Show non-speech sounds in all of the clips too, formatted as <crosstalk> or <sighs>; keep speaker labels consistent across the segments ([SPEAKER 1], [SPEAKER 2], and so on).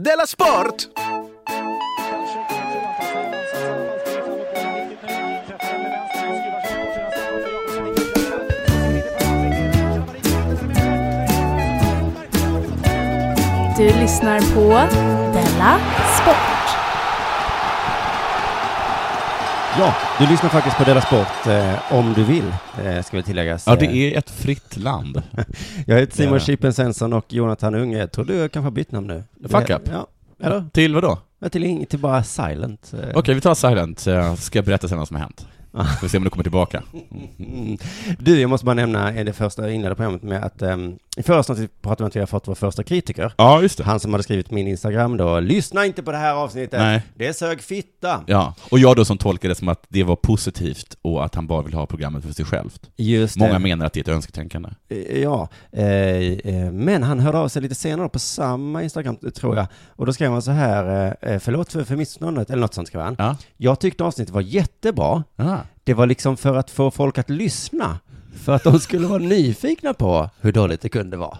[SPEAKER 1] Della Sport!
[SPEAKER 2] Du lyssnar på Della Sport.
[SPEAKER 3] Ja, du lyssnar faktiskt på Della Sport eh, om du vill, eh, ska väl tilläggas.
[SPEAKER 4] Ja, det
[SPEAKER 3] Eh,
[SPEAKER 4] är ett fritt land.
[SPEAKER 3] Jag heter
[SPEAKER 4] det
[SPEAKER 3] Simon
[SPEAKER 4] är det.
[SPEAKER 3] Chippen Svensson och Jonathan Unge. Jag tror du kanske har bytt namn nu.
[SPEAKER 4] Fuck
[SPEAKER 3] Eh,
[SPEAKER 4] up.
[SPEAKER 3] Ja, eller?
[SPEAKER 4] Till vad då?
[SPEAKER 3] Ja, Till, ing- till bara silent. eh.
[SPEAKER 4] Okej, vi tar Silent, så ska jag berätta sen vad som har hänt. Får vi se om du kommer tillbaka.
[SPEAKER 3] Mm. Du, jag måste bara nämna eh, det första jag inledde programmet med att ehm, i förra avsnittet pratade vi om att vi har fått vår första kritiker.
[SPEAKER 4] Ja, just det.
[SPEAKER 3] Han som hade skrivit min Instagram då, lyssna inte på det här avsnittet,
[SPEAKER 4] Nej.
[SPEAKER 3] det är sög fitta.
[SPEAKER 4] Ja, och jag då som tolkade det som att det var positivt och att han bara vill ha programmet för sig självt.
[SPEAKER 3] Just
[SPEAKER 4] Många
[SPEAKER 3] det.
[SPEAKER 4] menar att det är ett önsketänkande.
[SPEAKER 3] Eh, Ja, eh, eh, men han hörde av sig lite senare på samma Instagram tror jag. Och då skrev han så här, eh, eh, förlåt för, för missförståndet, eller något sånt skrev han.
[SPEAKER 4] Ja.
[SPEAKER 3] Jag tyckte avsnittet var jättebra.
[SPEAKER 4] Ah.
[SPEAKER 3] Det var liksom för att få folk att lyssna. För att de skulle vara nyfikna på hur dåligt det kunde vara.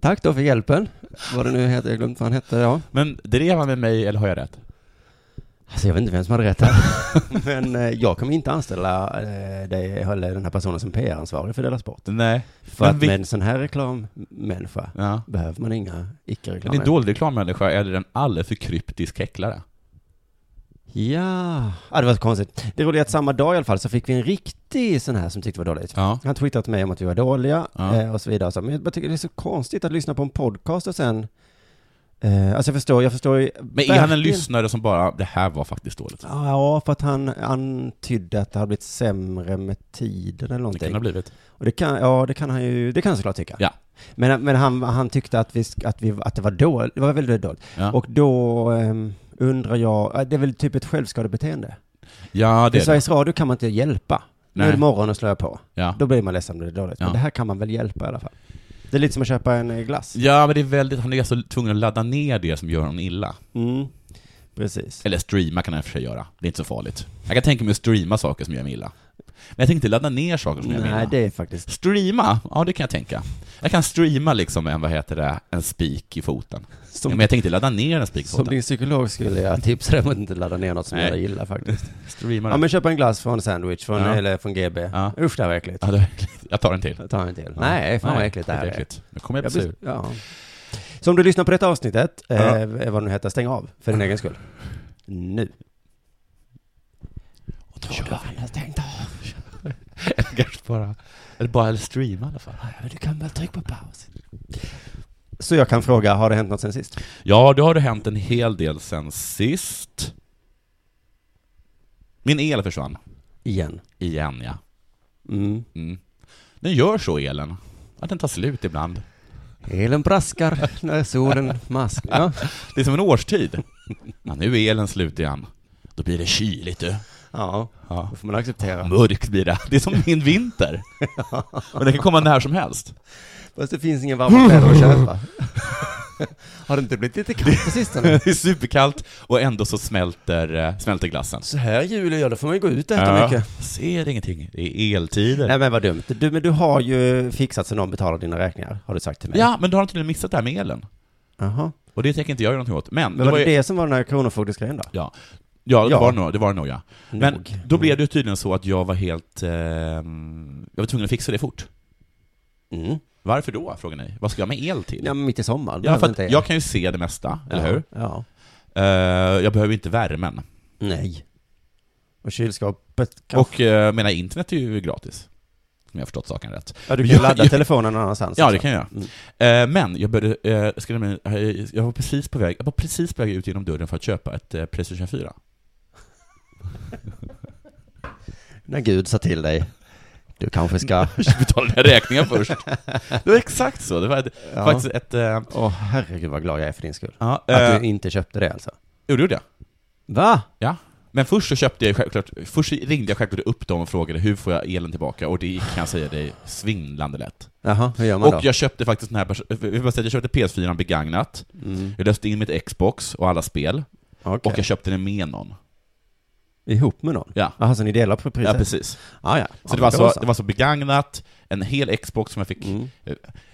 [SPEAKER 3] Tack då för hjälpen. Vad det nu heter, jag glömde vad han hette, ja.
[SPEAKER 4] Men drev han med mig, eller har jag rätt?
[SPEAKER 3] Alltså jag vet inte vem som hade rätt här. <laughs> Men eh, jag kommer inte anställa eh, dig, eller den här personen som PR-ansvarig för Della Sport.
[SPEAKER 4] Nej.
[SPEAKER 3] För
[SPEAKER 4] Men
[SPEAKER 3] att
[SPEAKER 4] vi-
[SPEAKER 3] med en sån här reklammänniska
[SPEAKER 4] Ja.
[SPEAKER 3] behöver man inga
[SPEAKER 4] Är det en
[SPEAKER 3] icke-reklammänniskor.
[SPEAKER 4] dålig reklammänniska eller en alldeles för kryptisk häcklare?
[SPEAKER 3] Ja. ja, det var så konstigt. Det roliga är att samma dag i alla fall så fick vi en riktig sån här som tyckte det var dåligt.
[SPEAKER 4] Ja.
[SPEAKER 3] Han twittrade till mig om att vi var dåliga
[SPEAKER 4] Ja.
[SPEAKER 3] eh, och så vidare. Så, men jag bara tycker det är så konstigt att lyssna på en podcast och sen... Eh, alltså jag förstår, jag förstår ju...
[SPEAKER 4] Men är han en lyssnare som bara, det här var faktiskt dåligt?
[SPEAKER 3] Ja, för att han antydde att det hade blivit sämre med tiden eller
[SPEAKER 4] Det kan
[SPEAKER 3] någonting.
[SPEAKER 4] det ha blivit.
[SPEAKER 3] Och det kan, ja, det kan han ju, det kan han såklart tycka.
[SPEAKER 4] Ja.
[SPEAKER 3] Men, men han, han tyckte att, vi, sk- att, vi, att det var dåligt, det var väldigt dåligt.
[SPEAKER 4] Ja.
[SPEAKER 3] Och då ehm, undrar jag, eh, det är väl typ ett självskadebeteende?
[SPEAKER 4] Ja,
[SPEAKER 3] I
[SPEAKER 4] det är det.
[SPEAKER 3] Sveriges Radio kan man inte hjälpa. Nu
[SPEAKER 4] Nej.
[SPEAKER 3] är det morgon och slår jag på.
[SPEAKER 4] Ja.
[SPEAKER 3] Då blir man ledsen om det är dåligt.
[SPEAKER 4] Ja.
[SPEAKER 3] Men det här kan man väl hjälpa i alla fall. Det är lite som att köpa en eh, glass.
[SPEAKER 4] ja, men det är väldigt, han är alltså tvungen att ladda ner det som gör honom illa.
[SPEAKER 3] Mm. Precis.
[SPEAKER 4] Eller streama kan han i och för sig göra. Det är inte så farligt. Jag kan tänka mig att streama saker som gör mig illa. Men jag tänker inte ladda ner saker som gör mig
[SPEAKER 3] Nej,
[SPEAKER 4] illa.
[SPEAKER 3] det är faktiskt...
[SPEAKER 4] Streama? Ja, det kan jag tänka. Jag kan streama liksom en, vad heter det, en spik i foten.
[SPEAKER 3] Som-
[SPEAKER 4] Men jag tänkte ladda ner en spik i
[SPEAKER 3] Som
[SPEAKER 4] foten.
[SPEAKER 3] din psykolog skulle jag tipsa dig om att inte ladda ner något som
[SPEAKER 4] Nej.
[SPEAKER 3] jag gillar faktiskt.
[SPEAKER 4] Streama
[SPEAKER 3] Ja
[SPEAKER 4] den.
[SPEAKER 3] men köpa en glass från Sandwich, från,
[SPEAKER 4] Ja.
[SPEAKER 3] eller från GB.
[SPEAKER 4] Ja.
[SPEAKER 3] Usch det här var äckligt.
[SPEAKER 4] Ja, det var äckligt. Jag tar en till.
[SPEAKER 3] Ta en till. Nej, fan vad äckligt det här
[SPEAKER 4] är.
[SPEAKER 3] är.
[SPEAKER 4] Äckligt. Nu kommer jag bli
[SPEAKER 3] Jag
[SPEAKER 4] sur.
[SPEAKER 3] blir, ja. Så om du lyssnar på detta avsnittet,
[SPEAKER 4] Ja.
[SPEAKER 3] eh, vad det nu heter, stäng av för din egen skull. Nu.
[SPEAKER 4] Och då kör vi. Stängt av. Eller kanske bara, eller bara streama i alla fall. Du kan väl trycka på paus.
[SPEAKER 3] Så jag kan fråga, har det hänt något sen sist?
[SPEAKER 4] Ja, det har det hänt en hel del sen sist. Min el försvann.
[SPEAKER 3] Igen.
[SPEAKER 4] Igen, ja.
[SPEAKER 3] Mm.
[SPEAKER 4] Mm. Den gör så, elen. Att den tar slut ibland.
[SPEAKER 3] Elen braskar när solen maskar. Ja.
[SPEAKER 4] Det är som en årstid. Ja, nu är elen slut igen. Då blir det kyligt, du.
[SPEAKER 3] ja, Mm.
[SPEAKER 4] Ja.
[SPEAKER 3] då får man acceptera.
[SPEAKER 4] Mörkt blir det. Det är som min vinter. Och den kan komma när som helst.
[SPEAKER 3] Fast det finns ingen varma kläder att <laughs> köpa. har det inte blivit lite kallt på sistone?
[SPEAKER 4] Det är superkallt och ändå så smälter, eh, smälter glassen.
[SPEAKER 3] Så här julen gör, då får man ju gå ut och
[SPEAKER 4] Ser ingenting. Det är eltider.
[SPEAKER 3] Nej men vad dumt. Du, men du har ju fixat så någon betalar dina räkningar, har du sagt till mig.
[SPEAKER 4] Ja, men då har de tydligen missat det här med elen.
[SPEAKER 3] Jaha.
[SPEAKER 4] Och det tänker inte jag göra någonting åt. Men,
[SPEAKER 3] Men var det
[SPEAKER 4] ju-
[SPEAKER 3] det som var den här kronofogdesgrejen då?
[SPEAKER 4] Ja, ja, det,
[SPEAKER 3] Ja.
[SPEAKER 4] Var nog, det var det nog ja. Men
[SPEAKER 3] Nog.
[SPEAKER 4] då blev det ju tydligen så att jag var helt... Eh, jag var tvungen att fixa det fort.
[SPEAKER 3] Mm.
[SPEAKER 4] Varför då, frågar ni? Vad ska jag med el till?
[SPEAKER 3] Ja, men mitt i sommar.
[SPEAKER 4] Ja, för
[SPEAKER 3] behöver
[SPEAKER 4] att
[SPEAKER 3] inte
[SPEAKER 4] jag kan ju se det mesta, eller hur?
[SPEAKER 3] Ja.
[SPEAKER 4] Eh, jag behöver inte värmen.
[SPEAKER 3] Nej. Och kylskåpet kanske.
[SPEAKER 4] Och eh, menar, internet är ju gratis. Om jag har förstått saken rätt.
[SPEAKER 3] ja, du kan
[SPEAKER 4] jag-
[SPEAKER 3] ju ladda
[SPEAKER 4] jag-
[SPEAKER 3] telefonen någon annanstans.
[SPEAKER 4] Ja,
[SPEAKER 3] också.
[SPEAKER 4] det kan jag
[SPEAKER 3] Mm.
[SPEAKER 4] göra. Eh, Men jag började, eh, ska jag, nämligen- eh, jag var precis på väg, jag var precis på väg ut genom dörren för att köpa ett eh, Playstation <laughs> 4.
[SPEAKER 3] När Gud sa till dig, du kanske
[SPEAKER 4] <laughs>
[SPEAKER 3] ska...
[SPEAKER 4] Betala den här räkningen först. Det var exakt så, det var ett,
[SPEAKER 3] Ja.
[SPEAKER 4] faktiskt ett... eh,
[SPEAKER 3] Åh, herregud vad glad jag är för din skull.
[SPEAKER 4] Ja,
[SPEAKER 3] Att
[SPEAKER 4] eh,
[SPEAKER 3] du inte köpte det alltså.
[SPEAKER 4] jo, det gjorde jag.
[SPEAKER 3] Va?
[SPEAKER 4] Ja. Men först så köpte jag ju självklart, först ringde jag självklart upp dem och frågade hur får jag elen tillbaka? Och det gick, kan jag säga dig, svindlande lätt.
[SPEAKER 3] Jaha, hur gör man
[SPEAKER 4] Och
[SPEAKER 3] då?
[SPEAKER 4] jag köpte faktiskt den här, pers- jag vill bara säga att jag köpte PS4 begagnat,
[SPEAKER 3] Mm.
[SPEAKER 4] jag löste in mitt Xbox och alla spel,
[SPEAKER 3] Okej.
[SPEAKER 4] och jag köpte den med någon.
[SPEAKER 3] Ihop med någon?
[SPEAKER 4] Ja.
[SPEAKER 3] Jaha, så ni delar på
[SPEAKER 4] Ja,
[SPEAKER 3] priset?
[SPEAKER 4] precis.
[SPEAKER 3] Ah, ja.
[SPEAKER 4] Så det var
[SPEAKER 3] men då
[SPEAKER 4] så, det var så begagnat, en hel Xbox som jag fick.
[SPEAKER 3] Mm.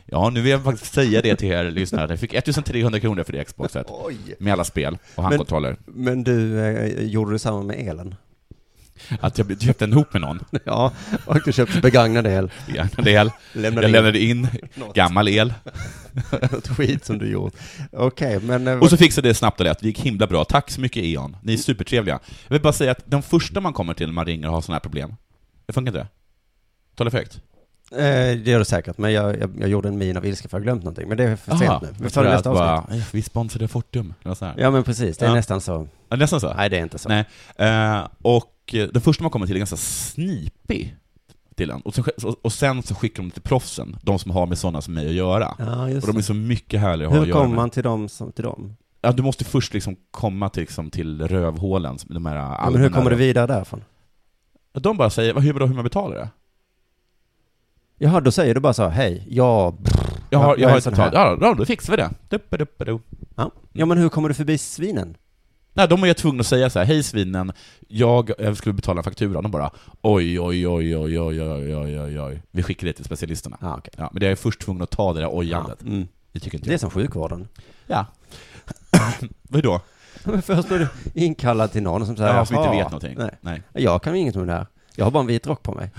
[SPEAKER 4] Ja, nu vill jag faktiskt säga det till er lyssnare. Jag fick 1300 kronor för det Xboxet.
[SPEAKER 3] Oj!
[SPEAKER 4] Med alla spel och handkontroller.
[SPEAKER 3] Men du, eh, gjorde du samma med
[SPEAKER 4] <laughs>
[SPEAKER 3] elen?
[SPEAKER 4] Att jag köpte en ihop med någon.
[SPEAKER 3] Ja, och du köpte begagnad el.
[SPEAKER 4] Begagnad el.
[SPEAKER 3] Lämnade
[SPEAKER 4] Jag
[SPEAKER 3] in
[SPEAKER 4] lämnade in
[SPEAKER 3] Något.
[SPEAKER 4] gammal el.
[SPEAKER 3] något <laughs> skit som du gjort. Okej, men... eh,
[SPEAKER 4] Och så fixade det snabbt och lätt. Det gick himla bra. Tack så mycket E.ON. Ni är supertrevliga. Jag vill bara säga att den första man kommer till när man ringer och har sådana här problem, det funkar inte det? Talar för högt?
[SPEAKER 3] eh, det gör du säkert, men jag, jag, jag gjorde en min av ilska för jag glömt någonting. Men det är för
[SPEAKER 4] Aha,
[SPEAKER 3] sent nu. Vi tar det
[SPEAKER 4] jag
[SPEAKER 3] nästa
[SPEAKER 4] bara,
[SPEAKER 3] avsnitt.
[SPEAKER 4] "Eh, Vi sponsrade Fortum. Eller så här.
[SPEAKER 3] Ja, men precis. Det är
[SPEAKER 4] Ja.
[SPEAKER 3] nästan så.
[SPEAKER 4] Ja, Nästan så.
[SPEAKER 3] Nej, det är inte så.
[SPEAKER 4] Nej. Eh, och eh, den första man kommer till är ganska snipig till en. Och sen, och- och sen så skickar de till proffsen, de som har med sådana som mig att göra.
[SPEAKER 3] Ja,
[SPEAKER 4] Och
[SPEAKER 3] just
[SPEAKER 4] de är så mycket härligare att ha att
[SPEAKER 3] Hur
[SPEAKER 4] göra
[SPEAKER 3] kommer
[SPEAKER 4] med.
[SPEAKER 3] man till dem som till dem?
[SPEAKER 4] Ja, du måste först liksom komma till, liksom, till rövhålen, som de här
[SPEAKER 3] Ja, men hur
[SPEAKER 4] allmänna-
[SPEAKER 3] kommer du vidare därifrån?
[SPEAKER 4] De bara säger, "Vad- hur, vadå, hur man betalar det?
[SPEAKER 3] Jaha, då säger du bara så, hej, ja,
[SPEAKER 4] Jag
[SPEAKER 3] Ja,
[SPEAKER 4] har,
[SPEAKER 3] jag
[SPEAKER 4] jag
[SPEAKER 3] är
[SPEAKER 4] har
[SPEAKER 3] sån
[SPEAKER 4] ett tag. Ja, då- då fixar vi det. Duppa, duppa, du.
[SPEAKER 3] ja men hur kommer du förbi svinen?
[SPEAKER 4] Nej, de är ju tvungna att säga så här, hej svinen, jag eh, skulle betala en faktura. De bara, oj, oj, oj, oj, oj, oj, oj, oj, oj. Vi skickar det till specialisterna.
[SPEAKER 3] Ja, okej.
[SPEAKER 4] Ja, men det är först tvungen att ta det där ojandet.
[SPEAKER 3] Ja, mm.
[SPEAKER 4] Det tycker inte
[SPEAKER 3] Det är
[SPEAKER 4] jag.
[SPEAKER 3] som sjukvården. <laughs>
[SPEAKER 4] <coughs> Ja. Vad då?
[SPEAKER 3] Ja, Men först blir du inkallad till någon som säger,
[SPEAKER 4] Ja, som inte
[SPEAKER 3] "Jaha."
[SPEAKER 4] vet någonting.
[SPEAKER 3] Nej,
[SPEAKER 4] Nej. <laughs>
[SPEAKER 3] jag kan ju inget om det här. Jag har bara en vit rock på mig.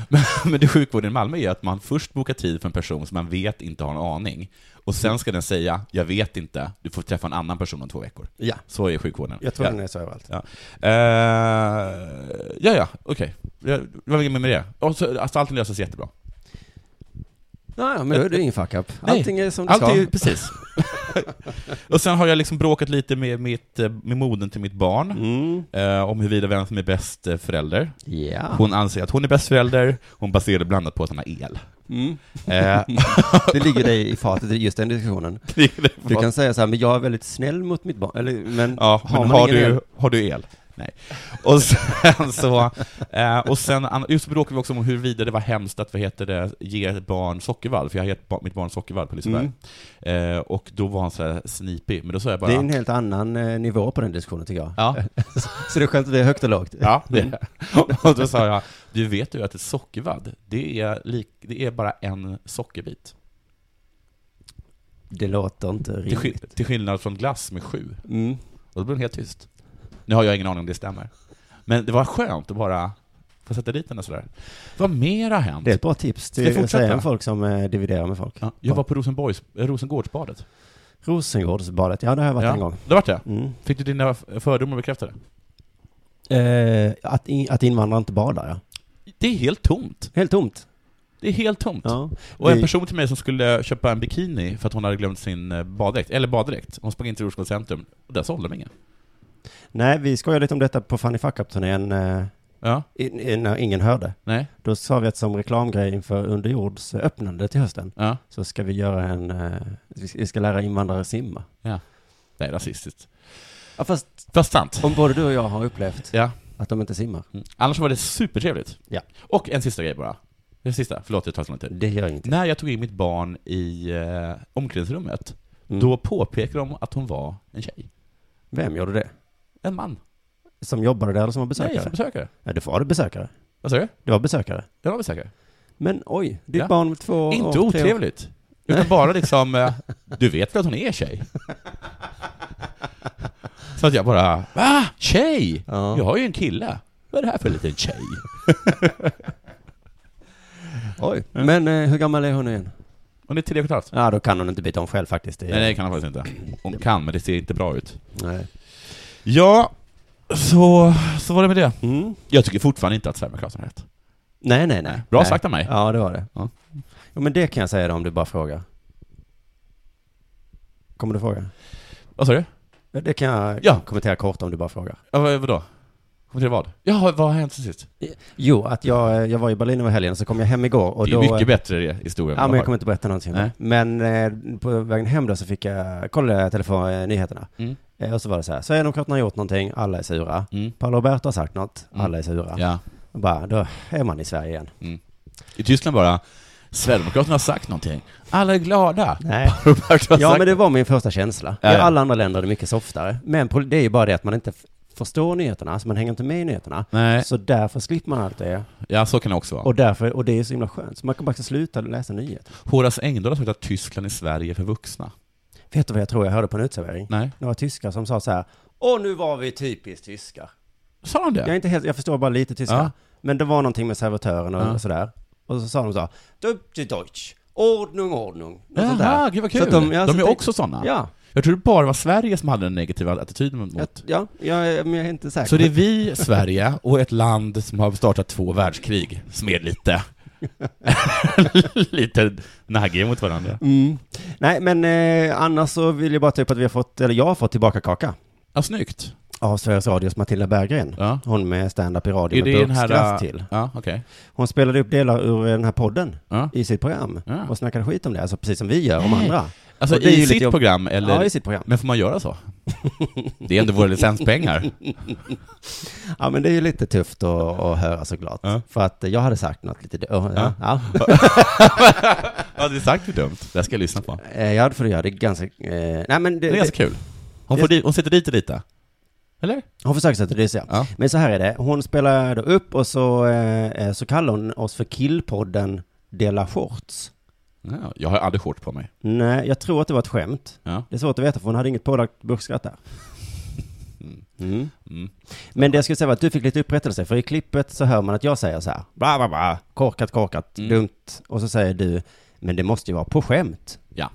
[SPEAKER 4] Men det sjukvården i Malmö är att man först bokar tid för en person som man vet inte har en aning, och sen ska den säga ”jag vet inte, du får träffa en annan person om två veckor”.
[SPEAKER 3] Ja,
[SPEAKER 4] Så är sjukvården.
[SPEAKER 3] jag tror
[SPEAKER 4] ja.
[SPEAKER 3] den är så överallt.
[SPEAKER 4] Ja, Eh, ja, ja okej. Okay. Det var inget mer med det. Och så, alltså, allting löses jättebra.
[SPEAKER 3] Ja, ja, men då är det ingen fuck-up.
[SPEAKER 4] Nej.
[SPEAKER 3] Allting är som det
[SPEAKER 4] Allt är ju
[SPEAKER 3] ska.
[SPEAKER 4] precis. <laughs> och sen har jag liksom bråkat lite med, mitt, eh, med moden till mitt barn,
[SPEAKER 3] Mm.
[SPEAKER 4] eh, om huruvida vem som är bäst eh, förälder.
[SPEAKER 3] Ja.
[SPEAKER 4] Hon anser att hon är bäst förälder, hon baserar det bland annat på att hon har el.
[SPEAKER 3] Mm.
[SPEAKER 4] Eh,
[SPEAKER 3] <laughs> Det ligger dig i fatet i just den diskussionen. Du kan säga så här, men jag är väldigt snäll mot mitt barn, eller, men
[SPEAKER 4] ja, men
[SPEAKER 3] har
[SPEAKER 4] har,
[SPEAKER 3] man ingen el?
[SPEAKER 4] du, har du el? Nej. Och sen så, eh, och sen, an- just då bråkade vi också om huruvida det var hemskt att, vad heter det, ge ett barn sockervall, för jag har gett ba- mitt barn sockervall på Liseberg. Eh, och då var han så här snipig, men då sa jag bara...
[SPEAKER 3] Mm. det är en helt annan eh, nivå på den diskussionen tycker jag.
[SPEAKER 4] ja,
[SPEAKER 3] Så det är skönt att det är högt och lågt.
[SPEAKER 4] ja, <laughs> det är det. Och då sa jag, du vet ju att ett sockervadd, det är, lik, det är bara en sockerbit.
[SPEAKER 3] Det låter inte
[SPEAKER 4] Till,
[SPEAKER 3] rimligt.
[SPEAKER 4] skill- till skillnad från glass med sju.
[SPEAKER 3] Mm.
[SPEAKER 4] Och då blev hon helt tyst. Nu har jag ingen aning om det stämmer. Men det var skönt att bara få sätta dit henne sådär. Vad mer har hänt?
[SPEAKER 3] Det är ett bra tips
[SPEAKER 4] Ska jag
[SPEAKER 3] till
[SPEAKER 4] fortsätta?
[SPEAKER 3] säga om folk som eh, dividerar med folk.
[SPEAKER 4] Ja, jag var på Rosenborgs, eh, Rosengårdsbadet.
[SPEAKER 3] Rosengårdsbadet, ja det har jag varit
[SPEAKER 4] Ja,
[SPEAKER 3] en gång.
[SPEAKER 4] Det vart det.
[SPEAKER 3] Mm.
[SPEAKER 4] Fick du dina f- fördomar bekräftade?
[SPEAKER 3] Eh, att, in, att invandrare inte badar ja.
[SPEAKER 4] Det är helt tomt.
[SPEAKER 3] Helt tomt.
[SPEAKER 4] Det är helt tomt.
[SPEAKER 3] Ja.
[SPEAKER 4] Och en
[SPEAKER 3] Vi-
[SPEAKER 4] person till mig som skulle köpa en bikini för att hon hade glömt sin eh, baddräkt, eller baddräkt. Hon sprang in till Rosengårds centrum, och där sålde de ingen.
[SPEAKER 3] Nej, vi skojade lite om detta på Funny Fuck Up-turnén eh,
[SPEAKER 4] Ja,
[SPEAKER 3] in- in- när ingen hörde.
[SPEAKER 4] nej,
[SPEAKER 3] Då sa vi att som reklamgrej inför Underjords eh, öppnande till hösten
[SPEAKER 4] ja.
[SPEAKER 3] så ska vi göra en, eh, vi vi ska lära invandrare simma.
[SPEAKER 4] Det är rasistiskt.
[SPEAKER 3] Ja, fast
[SPEAKER 4] Fast sant.
[SPEAKER 3] om både du och jag har upplevt
[SPEAKER 4] Ja.
[SPEAKER 3] att de inte simmar.
[SPEAKER 4] Mm. Annars var det supertrevligt.
[SPEAKER 3] Ja.
[SPEAKER 4] Och en sista grej bara. Den sista, förlåt jag tar så lång tid.
[SPEAKER 3] Det gör ingenting.
[SPEAKER 4] När jag tog in mitt barn i eh, omklädningsrummet,
[SPEAKER 3] Mm.
[SPEAKER 4] då påpekade de att hon var en tjej.
[SPEAKER 3] Vem gjorde det?
[SPEAKER 4] En man.
[SPEAKER 3] Som jobbade där eller som var
[SPEAKER 4] Nej,
[SPEAKER 3] besökare?
[SPEAKER 4] som besökare.
[SPEAKER 3] Ja, det var det besökare.
[SPEAKER 4] Vad sa du?
[SPEAKER 3] Det var besökare.
[SPEAKER 4] Jag var besökare.
[SPEAKER 3] Men oj, ditt
[SPEAKER 4] Ja.
[SPEAKER 3] barn med två år,
[SPEAKER 4] Inte
[SPEAKER 3] tre år-
[SPEAKER 4] otrevligt. Utan bara liksom, eh, du vet väl att hon är <laughs> tjej? Så att jag bara, va? Tjej?
[SPEAKER 3] Ja.
[SPEAKER 4] Jag har ju en kille. Vad är det här för liten tjej?
[SPEAKER 3] Oj. Men eh, hur gammal är hon igen?
[SPEAKER 4] Hon är tre och ett halvt.
[SPEAKER 3] Ja, då kan hon inte byta om själv faktiskt. Det är-
[SPEAKER 4] Nej, det kan hon faktiskt inte. Hon kan, men det ser inte bra ut.
[SPEAKER 3] Nej.
[SPEAKER 4] Ja, så, så var det med det.
[SPEAKER 3] Mm.
[SPEAKER 4] Jag tycker fortfarande inte att Sverigedemokraterna har rätt.
[SPEAKER 3] nej, nej, nej.
[SPEAKER 4] Bra
[SPEAKER 3] nej.
[SPEAKER 4] sagt av mig.
[SPEAKER 3] Ja, det var det.
[SPEAKER 4] Ja.
[SPEAKER 3] Jo, men det kan jag säga då, om du bara frågar. Kommer du fråga?
[SPEAKER 4] Vad sa du?
[SPEAKER 3] Ja, Det kan jag
[SPEAKER 4] Ja.
[SPEAKER 3] kommentera kort om du bara frågar.
[SPEAKER 4] Ja, vad, vadå? Kommer till vad? Ja, vad har hänt sen sist?
[SPEAKER 3] Jo, att jag, eh, jag var i Berlin över helgen, så kom jag hem igår och
[SPEAKER 4] det är
[SPEAKER 3] då...
[SPEAKER 4] mycket bättre i historien.
[SPEAKER 3] Ja, men jag
[SPEAKER 4] jag
[SPEAKER 3] kommer inte berätta någonting. om det.
[SPEAKER 4] Nej.
[SPEAKER 3] Men eh, på vägen hem då så fick jag, kollade jag telefon, eh, nyheterna.
[SPEAKER 4] Mm.
[SPEAKER 3] Eh, och så var det så här, Sverigedemokraterna har gjort någonting, alla är sura.
[SPEAKER 4] Mm.
[SPEAKER 3] Paolo Roberto har sagt något,
[SPEAKER 4] Mm.
[SPEAKER 3] alla är sura.
[SPEAKER 4] Ja.
[SPEAKER 3] Och bara, då är man i Sverige igen.
[SPEAKER 4] I Tyskland bara, Sverigedemokraterna har sagt någonting. Alla är glada.
[SPEAKER 3] Nej.
[SPEAKER 4] Roberto <laughs> har
[SPEAKER 3] Ja,
[SPEAKER 4] sagt
[SPEAKER 3] men det var min första känsla.
[SPEAKER 4] Ja,
[SPEAKER 3] I
[SPEAKER 4] ja.
[SPEAKER 3] alla andra länder är det mycket softare. Men pol- det är ju bara det att man inte f- förstår nyheterna, så man hänger inte med i nyheterna.
[SPEAKER 4] Nej,
[SPEAKER 3] Så därför slipper man allt det.
[SPEAKER 4] ja så kan det också vara.
[SPEAKER 3] Och, därför, och det är så himla skönt. Så man kan bara sluta läsa nyheter.
[SPEAKER 4] Horace Engdahl har sagt att Tyskland är Sverige för vuxna.
[SPEAKER 3] Vet du vad jag tror jag hörde på en uteservering?
[SPEAKER 4] Nej.
[SPEAKER 3] Några tyskar som sa så här. Åh, nu var vi typiskt tyskar.
[SPEAKER 4] Sa han
[SPEAKER 3] Jag, är
[SPEAKER 4] det?
[SPEAKER 3] inte helt, jag förstår bara lite tyska.
[SPEAKER 4] Ja.
[SPEAKER 3] Men det var någonting med servitören och
[SPEAKER 4] Ja.
[SPEAKER 3] sådär. Och så sa de så här. "Dup die Deutsch. Ordnung, ordnung. Något sånt
[SPEAKER 4] Jaha,
[SPEAKER 3] där.
[SPEAKER 4] gud vad
[SPEAKER 3] Så
[SPEAKER 4] kul!
[SPEAKER 3] att de- ja, så
[SPEAKER 4] de är
[SPEAKER 3] det-
[SPEAKER 4] också sådana.
[SPEAKER 3] Ja,
[SPEAKER 4] Jag tror det bara var Sverige som hade den negativa attityden mot.
[SPEAKER 3] jag, ja jag, men jag är inte säker.
[SPEAKER 4] Så det är vi, Sverige, och ett land som har startat två världskrig, som
[SPEAKER 3] <laughs>
[SPEAKER 4] är lite, lite naggiga mot varandra.
[SPEAKER 3] Mm. Nej, men eh, annars så vill jag bara ta upp att vi har fått, eller jag har fått tillbaka kaka
[SPEAKER 4] Ja, snyggt.
[SPEAKER 3] av Sveriges Radios Matilda Berggren.
[SPEAKER 4] Ja.
[SPEAKER 3] Hon med stand-up i radio
[SPEAKER 4] Är
[SPEAKER 3] med
[SPEAKER 4] det den här...
[SPEAKER 3] burkskraft
[SPEAKER 4] äh,
[SPEAKER 3] till.
[SPEAKER 4] Ja, okej.
[SPEAKER 3] Hon spelade upp delar ur eh, den här podden
[SPEAKER 4] Ja.
[SPEAKER 3] i sitt program
[SPEAKER 4] Ja.
[SPEAKER 3] och snackade skit om det, alltså precis som vi gör om andra.
[SPEAKER 4] Alltså
[SPEAKER 3] Och det är ju
[SPEAKER 4] i
[SPEAKER 3] lite
[SPEAKER 4] sitt
[SPEAKER 3] jobb-
[SPEAKER 4] program, eller?
[SPEAKER 3] Ja, i sitt program.
[SPEAKER 4] Men får man göra så? Det är ändå våra licenspengar.
[SPEAKER 3] Ja, men det är ju lite tufft att, att höra såklart.
[SPEAKER 4] Ja.
[SPEAKER 3] För att eh, jag hade sagt något lite... Ja.
[SPEAKER 4] Ja.
[SPEAKER 3] Ja. Ja.
[SPEAKER 4] Ja, det är sagt hur dumt. Det här ska jag lyssna på.
[SPEAKER 3] Eh, ja, det får du göra. Det är ganska... Eh, nej, men det,
[SPEAKER 4] Det är
[SPEAKER 3] det,
[SPEAKER 4] ganska kul. Hon, får di- hon sitter dit lite. Eller?
[SPEAKER 3] hon försöker sätta det sig.
[SPEAKER 4] Ja.
[SPEAKER 3] Men så här är det, hon spelar då upp och så, eh, eh, så kallar hon oss för killpodden Dela Shorts.
[SPEAKER 4] ja. Jag har aldrig shorts på mig.
[SPEAKER 3] Nej, jag tror att det var ett skämt.
[SPEAKER 4] Ja.
[SPEAKER 3] Det är svårt att veta för hon hade inget pålagt burkskratt
[SPEAKER 4] <laughs>
[SPEAKER 3] där. Mm.
[SPEAKER 4] Mm.
[SPEAKER 3] Men det jag skulle säga var att du fick lite upprättelse, för i klippet så hör man att jag säger så här, bla, bla, bla, korkat, korkat,
[SPEAKER 4] Mm.
[SPEAKER 3] dumt. Och så säger du, men det måste ju vara på skämt.
[SPEAKER 4] Ja.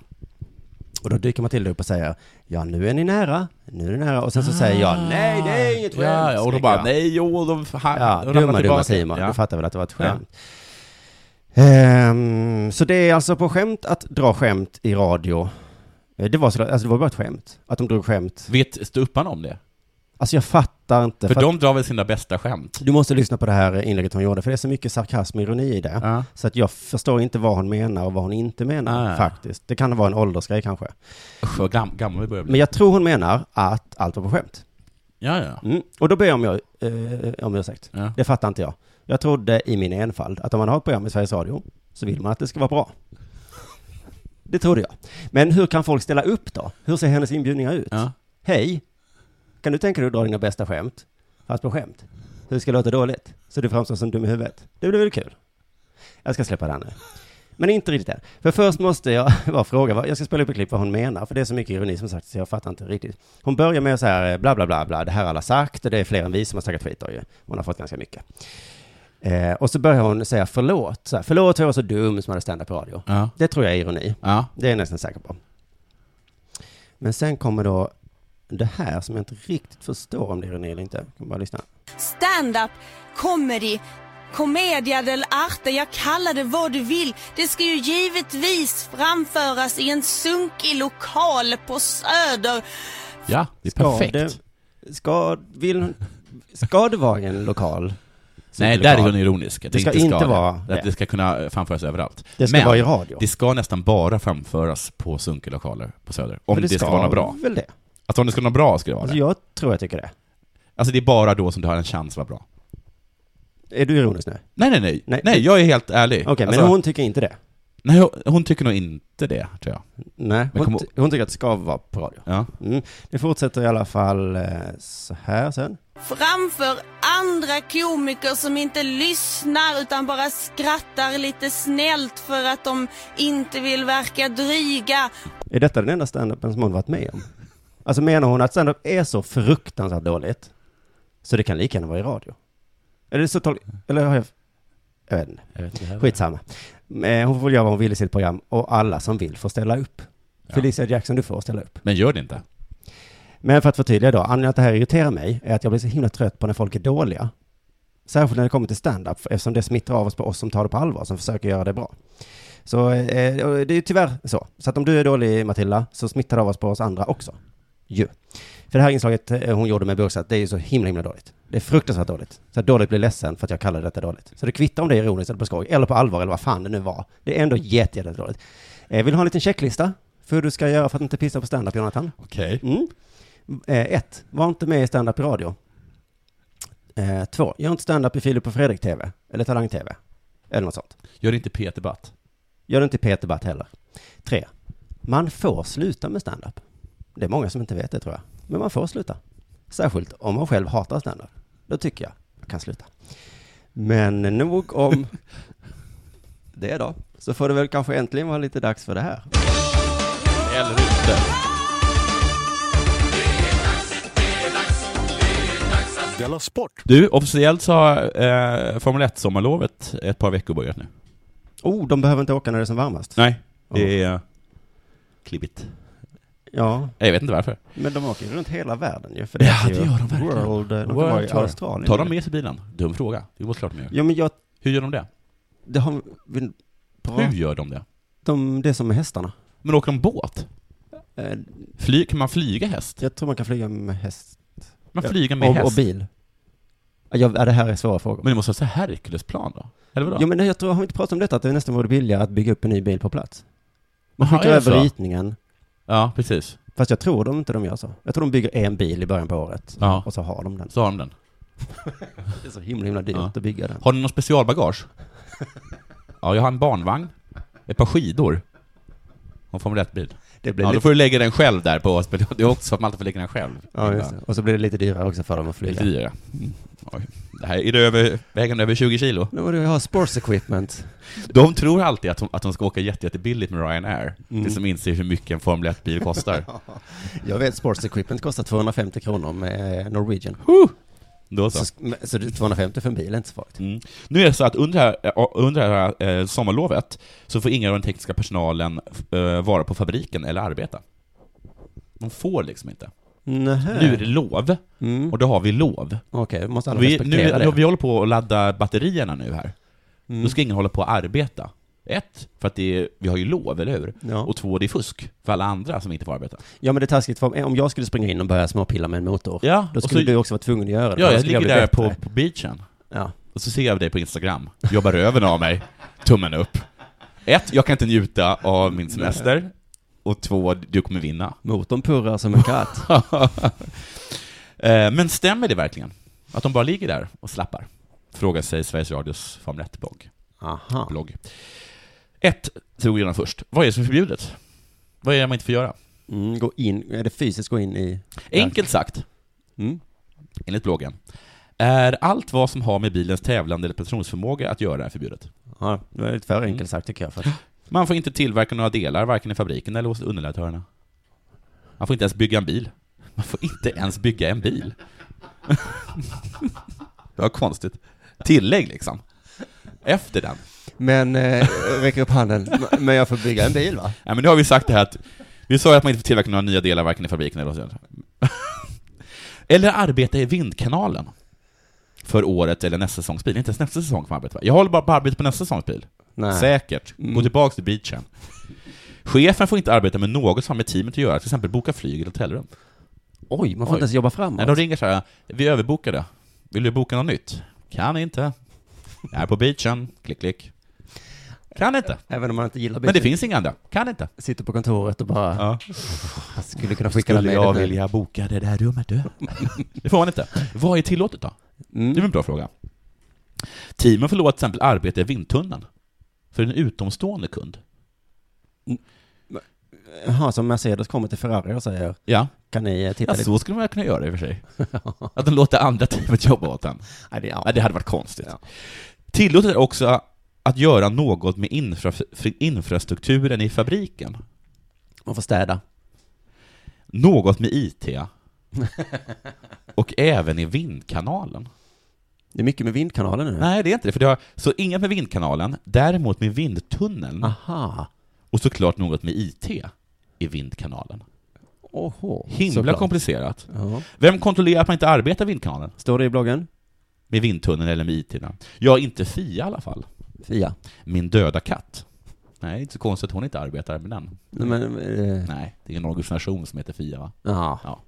[SPEAKER 3] Och då dyker Matilda upp och säger, ja nu är ni nära, nu är ni nära. Och sen så säger jag, nej det är inget skämt.
[SPEAKER 4] Ah. Ja, ja, och då bara,
[SPEAKER 3] skrek jag.
[SPEAKER 4] nej, jo, de...
[SPEAKER 3] Ja,
[SPEAKER 4] Ha, de ramlar
[SPEAKER 3] dumma, dumma
[SPEAKER 4] tillbaka.
[SPEAKER 3] Simon,
[SPEAKER 4] Ja.
[SPEAKER 3] du fattar väl att det var ett
[SPEAKER 4] Ja.
[SPEAKER 3] skämt. Ehm, så det är alltså på skämt att dra skämt i radio. Eh, Det var, så, alltså det var bara ett skämt, att de drog skämt.
[SPEAKER 4] Vet ståupparna om det?
[SPEAKER 3] Alltså jag fattar inte.
[SPEAKER 4] För
[SPEAKER 3] För
[SPEAKER 4] de drar väl sina bästa skämt?
[SPEAKER 3] att Du måste lyssna på det här inlägget hon gjorde, för det är så mycket sarkasm och ironi i det.
[SPEAKER 4] Ja.
[SPEAKER 3] Så att jag förstår inte vad hon menar och vad hon inte menar,
[SPEAKER 4] Ah.
[SPEAKER 3] faktiskt. Det kan vara en åldersgrej kanske.
[SPEAKER 4] Usch, vad gam- gammal vi börjar bli.
[SPEAKER 3] Men jag tror hon menar att allt var på skämt.
[SPEAKER 4] Ja, ja.
[SPEAKER 3] Mm. Och då ber jag om, jag, eh, om ursäkt.
[SPEAKER 4] ja.
[SPEAKER 3] Det fattar inte jag. Jag trodde i min enfald att om man har ett program i Sveriges Radio så vill man att det ska vara bra. Det trodde jag. Men hur kan folk ställa upp då? Hur ser hennes inbjudningar ut?
[SPEAKER 4] ja.
[SPEAKER 3] Hej, kan du tänka dig att dra dina bästa skämt? Fast på skämt. Hur ska det låta dåligt? Så du framstår som dum i huvudet. Det blir väl kul? Jag ska släppa det här nu. Men inte riktigt än. För först måste jag <laughs> bara fråga, vad- jag ska spela upp ett klipp vad hon menar, för det är så mycket ironi som sagt, så jag fattar inte riktigt. Hon börjar med så här, eh, bla bla bla bla, det här har alla sagt och det är fler än vi som har snackat skit då ju. Hon har fått ganska mycket. Eh, och så börjar hon säga förlåt, så här, förlåt för jag var så dum som hade stand-up på radio.
[SPEAKER 4] Ja.
[SPEAKER 3] Det tror jag är ironi.
[SPEAKER 4] Ja.
[SPEAKER 3] Det är jag nästan säker på. Men sen kommer då det här som jag inte riktigt förstår om det är ironi eller inte. Jag kan bara lyssna.
[SPEAKER 1] Stand-up, comedy, commedia dell'arte, jag kallar det vad du vill. Det ska ju givetvis framföras i en sunkig lokal på Söder.
[SPEAKER 4] ja, det är
[SPEAKER 3] Ska
[SPEAKER 4] perfekt.
[SPEAKER 3] Det, ska, vill, ska det vara i en lokal?
[SPEAKER 4] Nej, där är hon ironisk. Att
[SPEAKER 3] Det ska inte vara
[SPEAKER 4] det. Att
[SPEAKER 3] det.
[SPEAKER 4] det ska kunna eh, framföras överallt.
[SPEAKER 3] Det ska
[SPEAKER 4] Men
[SPEAKER 3] vara i radio.
[SPEAKER 4] det ska nästan bara framföras på sunkelokaler på Söder. Om
[SPEAKER 3] För
[SPEAKER 4] det, ska, vara något bra.
[SPEAKER 3] väl det?
[SPEAKER 4] Alltså om det ska vara något bra ska det vara
[SPEAKER 3] Alltså
[SPEAKER 4] det.
[SPEAKER 3] jag tror jag tycker det.
[SPEAKER 4] Alltså det är bara då som det har en chans att vara bra.
[SPEAKER 3] Är du ironisk nu?
[SPEAKER 4] Nej, nej, nej. Nej,
[SPEAKER 3] Nej.
[SPEAKER 4] jag är helt ärlig.
[SPEAKER 3] Okej,
[SPEAKER 4] Alltså,
[SPEAKER 3] men hon tycker inte det.
[SPEAKER 4] Nej, hon- hon tycker nog inte det, tror jag.
[SPEAKER 3] Nej,
[SPEAKER 4] Men
[SPEAKER 3] hon,
[SPEAKER 4] kom-
[SPEAKER 3] ty- hon tycker att det ska vara på radio.
[SPEAKER 4] Ja.
[SPEAKER 3] Mm. Det fortsätter i alla fall eh, så här sen.
[SPEAKER 1] Framför andra komiker som inte lyssnar utan bara skrattar lite snällt för att de inte vill verka dryga.
[SPEAKER 3] Är detta den enda standupen som hon varit med om? Alltså menar hon att standup är så fruktansvärt dåligt så det kan lika gärna vara i radio? Eller så tol- Eller har jag... Jag vet inte. Skitsamma. Eh, Hon får väl göra vad hon vill i sitt program och alla som vill får ställa upp. Felicia Jackson, du får ställa upp.
[SPEAKER 4] Men gör det inte.
[SPEAKER 3] Men för att förtydliga då, anledningen att det här irriterar mig är att jag blir så himla trött på när folk är dåliga. Särskilt när det kommer till stand-up, eftersom det smittar av oss på oss som tar det på allvar, som försöker göra det bra. Så eh, och det är ju tyvärr så. Så att om du är dålig, Matilda, så smittar det av oss på oss andra också. Ju. För det här inslaget eh, hon gjorde med Burksatt, det är ju så himla, himla dåligt. Det är fruktansvärt dåligt. Så att dåligt blir ledsen för att jag kallade detta dåligt. Så det kvittar om det är ironiskt eller på skoj, eller på allvar, eller vad fan det nu var. Det är ändå jätte, jätte dåligt. Eh, vill du ha en liten checklista? För hur du ska göra för att inte pissa på stand-up, Jonathan?
[SPEAKER 4] Okej.
[SPEAKER 3] Mm. Eh, ett, var inte med i stand-up i radio. Eh, två, gör inte stand-up i Filip och Fredrik TV, eller Talang TV, eller något sånt.
[SPEAKER 4] Gör inte Peter Batt.
[SPEAKER 3] Gör det inte i Peter Batt heller. Tre, man får sluta med stand-up. Det är många som inte vet det tror jag, men man får sluta. Särskilt om man själv hatar standup. Då tycker jag jag kan sluta. Men nog om det då. Så får det väl kanske äntligen vara lite dags för det här.
[SPEAKER 4] Eller inte.
[SPEAKER 5] Della Sport!
[SPEAKER 4] Du, officiellt så har eh, Formel 1-sommarlovet ett par veckor börjat nu.
[SPEAKER 3] Oh, de behöver inte åka när det är som varmast.
[SPEAKER 4] Nej, det är eh, klibbigt.
[SPEAKER 3] Ja,
[SPEAKER 4] Jag vet inte varför.
[SPEAKER 3] men de åker ju runt hela världen ju. För det
[SPEAKER 4] Ja,
[SPEAKER 3] är ju
[SPEAKER 4] det gör de verkligen.
[SPEAKER 3] World, eh, de kan
[SPEAKER 4] World
[SPEAKER 3] vara i
[SPEAKER 4] Tour.
[SPEAKER 3] Australien.
[SPEAKER 4] Tar de med sig bilen? Dum fråga. Jo, det är klart de gör.
[SPEAKER 3] Ja, men jag,
[SPEAKER 4] Hur gör de det?
[SPEAKER 3] det har vi... Bra.
[SPEAKER 4] Hur gör de det?
[SPEAKER 3] De, det är som med hästarna.
[SPEAKER 4] Men åker de båt?
[SPEAKER 3] Eh,
[SPEAKER 4] Fly, kan man flyga häst?
[SPEAKER 3] Jag tror man kan flyga med häst.
[SPEAKER 4] Man
[SPEAKER 3] Ja.
[SPEAKER 4] flyger med
[SPEAKER 3] och,
[SPEAKER 4] häst.
[SPEAKER 3] och bil. Ja, jag- ja, det här är svåra frågor.
[SPEAKER 4] Men det måste vara så här Herculesplan då? Eller vadå?
[SPEAKER 3] Ja, men jag tror, har vi inte pratat om detta, att det nästan vore billigare att bygga upp en ny bil på plats?
[SPEAKER 4] man
[SPEAKER 3] Skicka över ritningen.
[SPEAKER 4] Ja, precis.
[SPEAKER 3] Fast jag tror de inte de gör så. Jag tror de bygger en bil i början på året.
[SPEAKER 4] Ja.
[SPEAKER 3] Och så har de den.
[SPEAKER 4] Så har de den.
[SPEAKER 3] Det är så himla, himla dyrt
[SPEAKER 4] Ja.
[SPEAKER 3] att bygga den.
[SPEAKER 4] Har ni någon <laughs> specialbagage? ja, jag har en barnvagn, ett par skidor och en Formel 1-bil.
[SPEAKER 3] Det blir
[SPEAKER 4] Ja, då
[SPEAKER 3] lite...
[SPEAKER 4] får du lägga den själv där på oss. men Det är också så att man alltid får lägga den själv.
[SPEAKER 3] Ja, just det. Och så blir det lite dyrare också för dem att
[SPEAKER 4] Det är
[SPEAKER 3] flyga.
[SPEAKER 4] lite dyrare. Mm. Oj. Det här är det över, vägen över 20 kilo.
[SPEAKER 3] Nu borde vi ha sports equipment.
[SPEAKER 4] De tror alltid att de, att de ska åka jätte, jättebilligt med Ryanair. Mm. Det som inser hur mycket en Formel 1-bil <laughs> kostar.
[SPEAKER 3] Jag vet, sports equipment kostar 250 kronor med eh, Norwegian.
[SPEAKER 4] Då så.
[SPEAKER 3] Så, så det är 250 för en bil är inte så farligt.
[SPEAKER 4] Mm. Nu är det så att under det här, eh, under det här eh, sommarlovet så får ingen av den tekniska personalen eh, vara på fabriken eller arbeta. De får liksom inte.
[SPEAKER 3] Nähä.
[SPEAKER 4] Nu är det lov,
[SPEAKER 3] Mm.
[SPEAKER 4] och då har vi lov.
[SPEAKER 3] Okej, då måste alla
[SPEAKER 4] Vi, nu,
[SPEAKER 3] respektera
[SPEAKER 4] nu,
[SPEAKER 3] det.
[SPEAKER 4] vi håller på att ladda batterierna nu här.
[SPEAKER 3] Mm.
[SPEAKER 4] Då ska ingen hålla på att arbeta. Ett, för att det är, vi har ju lov, eller hur?
[SPEAKER 3] Ja.
[SPEAKER 4] Och två, det är fusk för alla andra som inte får arbeta.
[SPEAKER 3] Ja men det är taskigt, för om jag skulle springa in och börja småpilla med en motor,
[SPEAKER 4] Ja,
[SPEAKER 3] då
[SPEAKER 4] och
[SPEAKER 3] skulle
[SPEAKER 4] så-
[SPEAKER 3] du också vara tvungen att göra det.
[SPEAKER 4] Ja,
[SPEAKER 3] Då
[SPEAKER 4] jag
[SPEAKER 3] skulle
[SPEAKER 4] ligger
[SPEAKER 3] bli
[SPEAKER 4] där på,
[SPEAKER 3] bättre.
[SPEAKER 4] på beachen,
[SPEAKER 3] Ja.
[SPEAKER 4] och så ser jag dig på Instagram, jobbar röven av mig, tummen upp. Ett, jag kan inte njuta av min semester. Och två, du kommer vinna. <laughs>
[SPEAKER 3] Motorn purrar som en katt.
[SPEAKER 4] Eh, Men stämmer det verkligen? Att de bara ligger där och slappar? Frågar sig Sveriges Radios Formel 1-blogg.
[SPEAKER 3] Aha.
[SPEAKER 4] Blogg. Ett, tog vi redan först. Vad är det som är förbjudet? Vad är det man inte får göra?
[SPEAKER 3] Mm, gå in, är det fysiskt gå in i...
[SPEAKER 4] Enkelt sagt,
[SPEAKER 3] Mm.
[SPEAKER 4] enligt bloggen, är allt vad som har med bilens tävlande eller prestationsförmåga att göra är förbjudet.
[SPEAKER 3] Ja, det var lite för
[SPEAKER 4] Mm.
[SPEAKER 3] enkelt sagt tycker jag.
[SPEAKER 4] <gasps>
[SPEAKER 3] För att,
[SPEAKER 4] Man får inte tillverka några delar, varken i fabriken eller hos underleverantörerna. Man får inte ens bygga en bil. Man får inte ens bygga en bil. <laughs> Det var konstigt. Tillägg liksom. Efter den.
[SPEAKER 3] men, eh, räcker upp handen. <laughs> Men jag får bygga en bil va?
[SPEAKER 4] Nej, men nu har vi sagt det här att, vi sa ju att man inte får tillverka några nya delar, varken i fabriken eller hos <laughs> underleverantören. Eller arbeta i vindkanalen. För året eller nästa säsongs bil. Inte ens nästa säsong får man arbeta. Jag håller bara på att arbeta på nästa säsongs bil.
[SPEAKER 3] Nej.
[SPEAKER 4] Säkert. Gå
[SPEAKER 3] Mm.
[SPEAKER 4] tillbaks till beachen. Chefen får inte arbeta med något som har med teamet att göra, till exempel boka flyg eller hotellrum.
[SPEAKER 3] Oj, man får
[SPEAKER 4] Oj.
[SPEAKER 3] inte ens jobba framåt.
[SPEAKER 4] När de ringer så här, vi är överbokade. Vill du boka något nytt? Kan inte. Jag är på beachen. Klick, klick. Kan inte.
[SPEAKER 3] Även om man inte gillar
[SPEAKER 4] Men det
[SPEAKER 3] bilen.
[SPEAKER 4] finns inga andra. Kan inte.
[SPEAKER 3] Sitter på kontoret och bara,
[SPEAKER 4] Ja.
[SPEAKER 3] jag skulle kunna skicka den
[SPEAKER 4] Skulle
[SPEAKER 3] med
[SPEAKER 4] jag
[SPEAKER 3] den.
[SPEAKER 4] vilja boka det där rummet du? Det får man inte. Vad är tillåtet då? Det är väl
[SPEAKER 3] Mm.
[SPEAKER 4] en bra fråga. Teamen får lov att till exempel arbeta i vindtunneln. För en utomstående kund.
[SPEAKER 3] Jaha, som Mercedes kommer till Ferrari och säger,
[SPEAKER 4] Ja.
[SPEAKER 3] kan ni eh, titta
[SPEAKER 4] Ja,
[SPEAKER 3] lite?
[SPEAKER 4] så skulle man kunna göra i och för
[SPEAKER 3] <laughs>
[SPEAKER 4] sig. Att de låter andra teamet jobba åt en.
[SPEAKER 3] Nej, det,
[SPEAKER 4] Ja,
[SPEAKER 3] ja.
[SPEAKER 4] det hade varit konstigt.
[SPEAKER 3] Ja.
[SPEAKER 4] Tillåtet är också att göra något med infra, för infrastrukturen i fabriken.
[SPEAKER 3] Man får städa.
[SPEAKER 4] Något med IT.
[SPEAKER 3] <laughs>
[SPEAKER 4] Och även i vindkanalen.
[SPEAKER 3] Det är mycket med vindkanalen nu.
[SPEAKER 4] Nej, det är inte det. För det har, så inget med vindkanalen, däremot med vindtunneln.
[SPEAKER 3] Ah. Aha.
[SPEAKER 4] Och såklart något med IT i vindkanalen.
[SPEAKER 3] Oho.
[SPEAKER 4] Himla komplicerat.
[SPEAKER 3] Ja.
[SPEAKER 4] Vem kontrollerar att man inte arbetar i vindkanalen?
[SPEAKER 3] Står det i bloggen?
[SPEAKER 4] Med vindtunneln eller med IT? -na? Ja, inte Fia i alla fall.
[SPEAKER 3] Fia.
[SPEAKER 4] Min döda katt. Nej, det är inte så konstigt att hon inte arbetar med den.
[SPEAKER 3] Nej, men, eh,
[SPEAKER 4] Nej, det är en organisation som heter FIA va?
[SPEAKER 3] ja.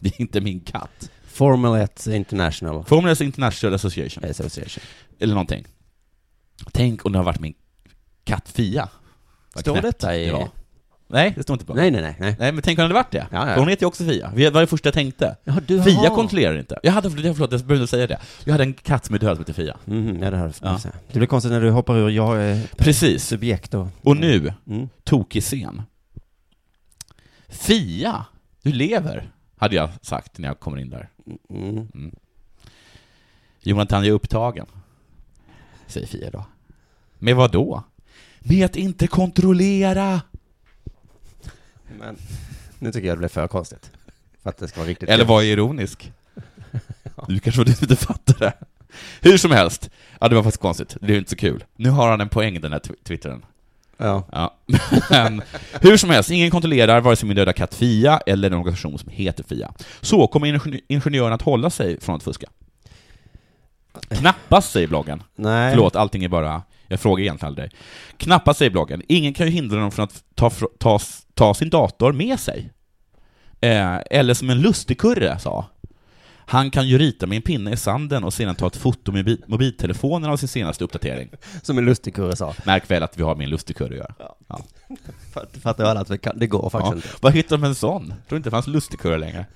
[SPEAKER 4] Det är inte min katt.
[SPEAKER 3] Formel 1 International
[SPEAKER 4] Formel 1 International Association,
[SPEAKER 3] Association.
[SPEAKER 4] eller någonting. Tänk om det har varit min katt Fia. Vad
[SPEAKER 3] Står
[SPEAKER 4] knäppt
[SPEAKER 3] detta i-
[SPEAKER 4] var. Nej, det står inte på.
[SPEAKER 3] Nej, nej, nej. nej.
[SPEAKER 4] Nej, men tänk om det hade varit det.
[SPEAKER 3] Ja, ja.
[SPEAKER 4] För Hon heter ju också Fia. Det var det första jag tänkte.
[SPEAKER 3] Ja, du
[SPEAKER 4] Fia kontrollerar inte. Jag hade, förlåt, jag behövde säga det. Jag hade en katt som är död som heter Fia.
[SPEAKER 3] Mm, ja, det hade
[SPEAKER 4] Ja.
[SPEAKER 3] ja. Det blir konstigt när du hoppar ur jag är
[SPEAKER 4] Precis.
[SPEAKER 3] subjekt och...
[SPEAKER 4] Och nu,
[SPEAKER 3] Mm.
[SPEAKER 4] tokig scen. Fia, du lever. Hade jag sagt när jag kommer in där.
[SPEAKER 3] Mm.
[SPEAKER 4] Mm. Jonathan, jag är upptagen. Säger Fia då. Med vad då? Med att inte kontrollera!
[SPEAKER 3] Men nu tycker jag det blev för konstigt. För att det ska vara riktigt
[SPEAKER 4] Eller var jag ironisk? Du kanske var du som inte fattade det. Hur som helst, ja det var faktiskt konstigt, det är ju inte så kul. Nu har han en poäng den här tw- twittern.
[SPEAKER 3] Ja.
[SPEAKER 4] Ja. <laughs> Men, hur som helst, ingen kontrollerar vare sig min döda katt Fia eller en organisation som heter Fia. Så kommer ingen- ingenjören att hålla sig från att fuska? Knappast, säger bloggen.
[SPEAKER 3] Nej.
[SPEAKER 4] Förlåt, allting är bara... Jag frågar egentligen aldrig dig. Knappast, säger bloggen. Ingen kan ju hindra dem från att ta, fr- ta, s- ta sin dator med sig. Eh, eller som en lustigkurre sa. Han kan ju rita med en pinne i sanden och sedan ta ett foto med bi- mobiltelefonen av sin senaste uppdatering.
[SPEAKER 3] Som en lustig kurre sa.
[SPEAKER 4] Märk väl att vi har med en lustigkurre att göra. Ja.
[SPEAKER 3] Fatt- Fattar alla att vi kan, det går
[SPEAKER 4] Ja.
[SPEAKER 3] faktiskt
[SPEAKER 4] Var hittade de en sån? Tror inte det fanns lustigkurre längre.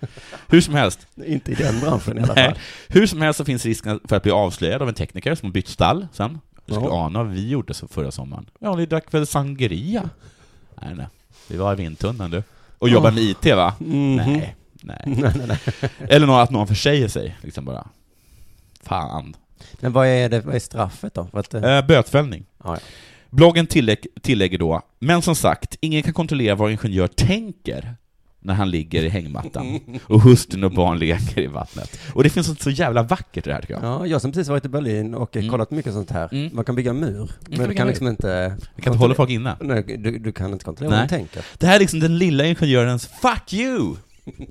[SPEAKER 4] Hur som helst,
[SPEAKER 3] inte. Inte i den branschen i alla
[SPEAKER 4] Nej.
[SPEAKER 3] fall.
[SPEAKER 4] Hur som helst så finns risken för att bli avslöjad av en tekniker som har bytt stall sen. Du skulle
[SPEAKER 3] Ja.
[SPEAKER 4] ana vad vi gjorde så förra sommaren. Ja, ni drack väl sangria? Nej, nej. Vi var i vindtunnan du. Och jobbade med IT va? Nej, nej.
[SPEAKER 3] Mhm. Nej, nej, nej.
[SPEAKER 4] Eller nå- att någon försäger sig, liksom bara. Fan.
[SPEAKER 3] Men vad är, det, vad är straffet då? För att, eh,
[SPEAKER 4] Eh, bötfällning.
[SPEAKER 3] ja, ja.
[SPEAKER 4] Bloggen tillägg, tillägger då, men som sagt, ingen kan kontrollera vad ingenjör tänker när han ligger i hängmattan och hustrun och barn leker i vattnet. Och det finns något så jävla vackert i det här tycker jag.
[SPEAKER 3] ja, jag som precis varit i Berlin och eh,
[SPEAKER 4] Mm.
[SPEAKER 3] kollat mycket sånt här.
[SPEAKER 4] Mm.
[SPEAKER 3] Man kan bygga en mur, men
[SPEAKER 4] kan
[SPEAKER 3] du
[SPEAKER 4] bygga
[SPEAKER 3] kan
[SPEAKER 4] en
[SPEAKER 3] liksom inte...
[SPEAKER 4] Jag kan inte hålla folk inne.
[SPEAKER 3] Nej, du, du kan inte kontrollera vad
[SPEAKER 4] Nej.
[SPEAKER 3] de tänker.
[SPEAKER 4] Det här är liksom den lilla ingenjörens 'fuck you'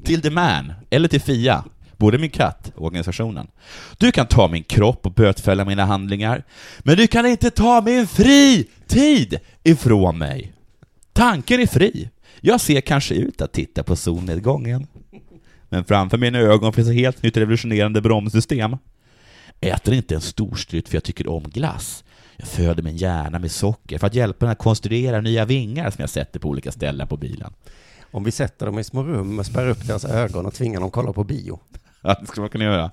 [SPEAKER 4] till the man, eller till Fia, både min katt och organisationen. Du kan ta min kropp och bötfälla mina handlingar, men du kan inte ta min fri tid ifrån mig. Tanken är fri. Jag ser kanske ut att titta på solnedgången, men framför mina ögon finns ett helt nytt revolutionerande bromssystem. Äter inte en storstrut för jag tycker om glass. Jag föder min hjärna med socker för att hjälpa den att konstruera nya vingar som jag sätter på olika ställen på bilen.
[SPEAKER 3] Om vi sätter dem i små rum och spärrar upp deras ögon och tvingar dem kolla på bio.
[SPEAKER 4] <laughs> Ja, det skulle man kunna göra.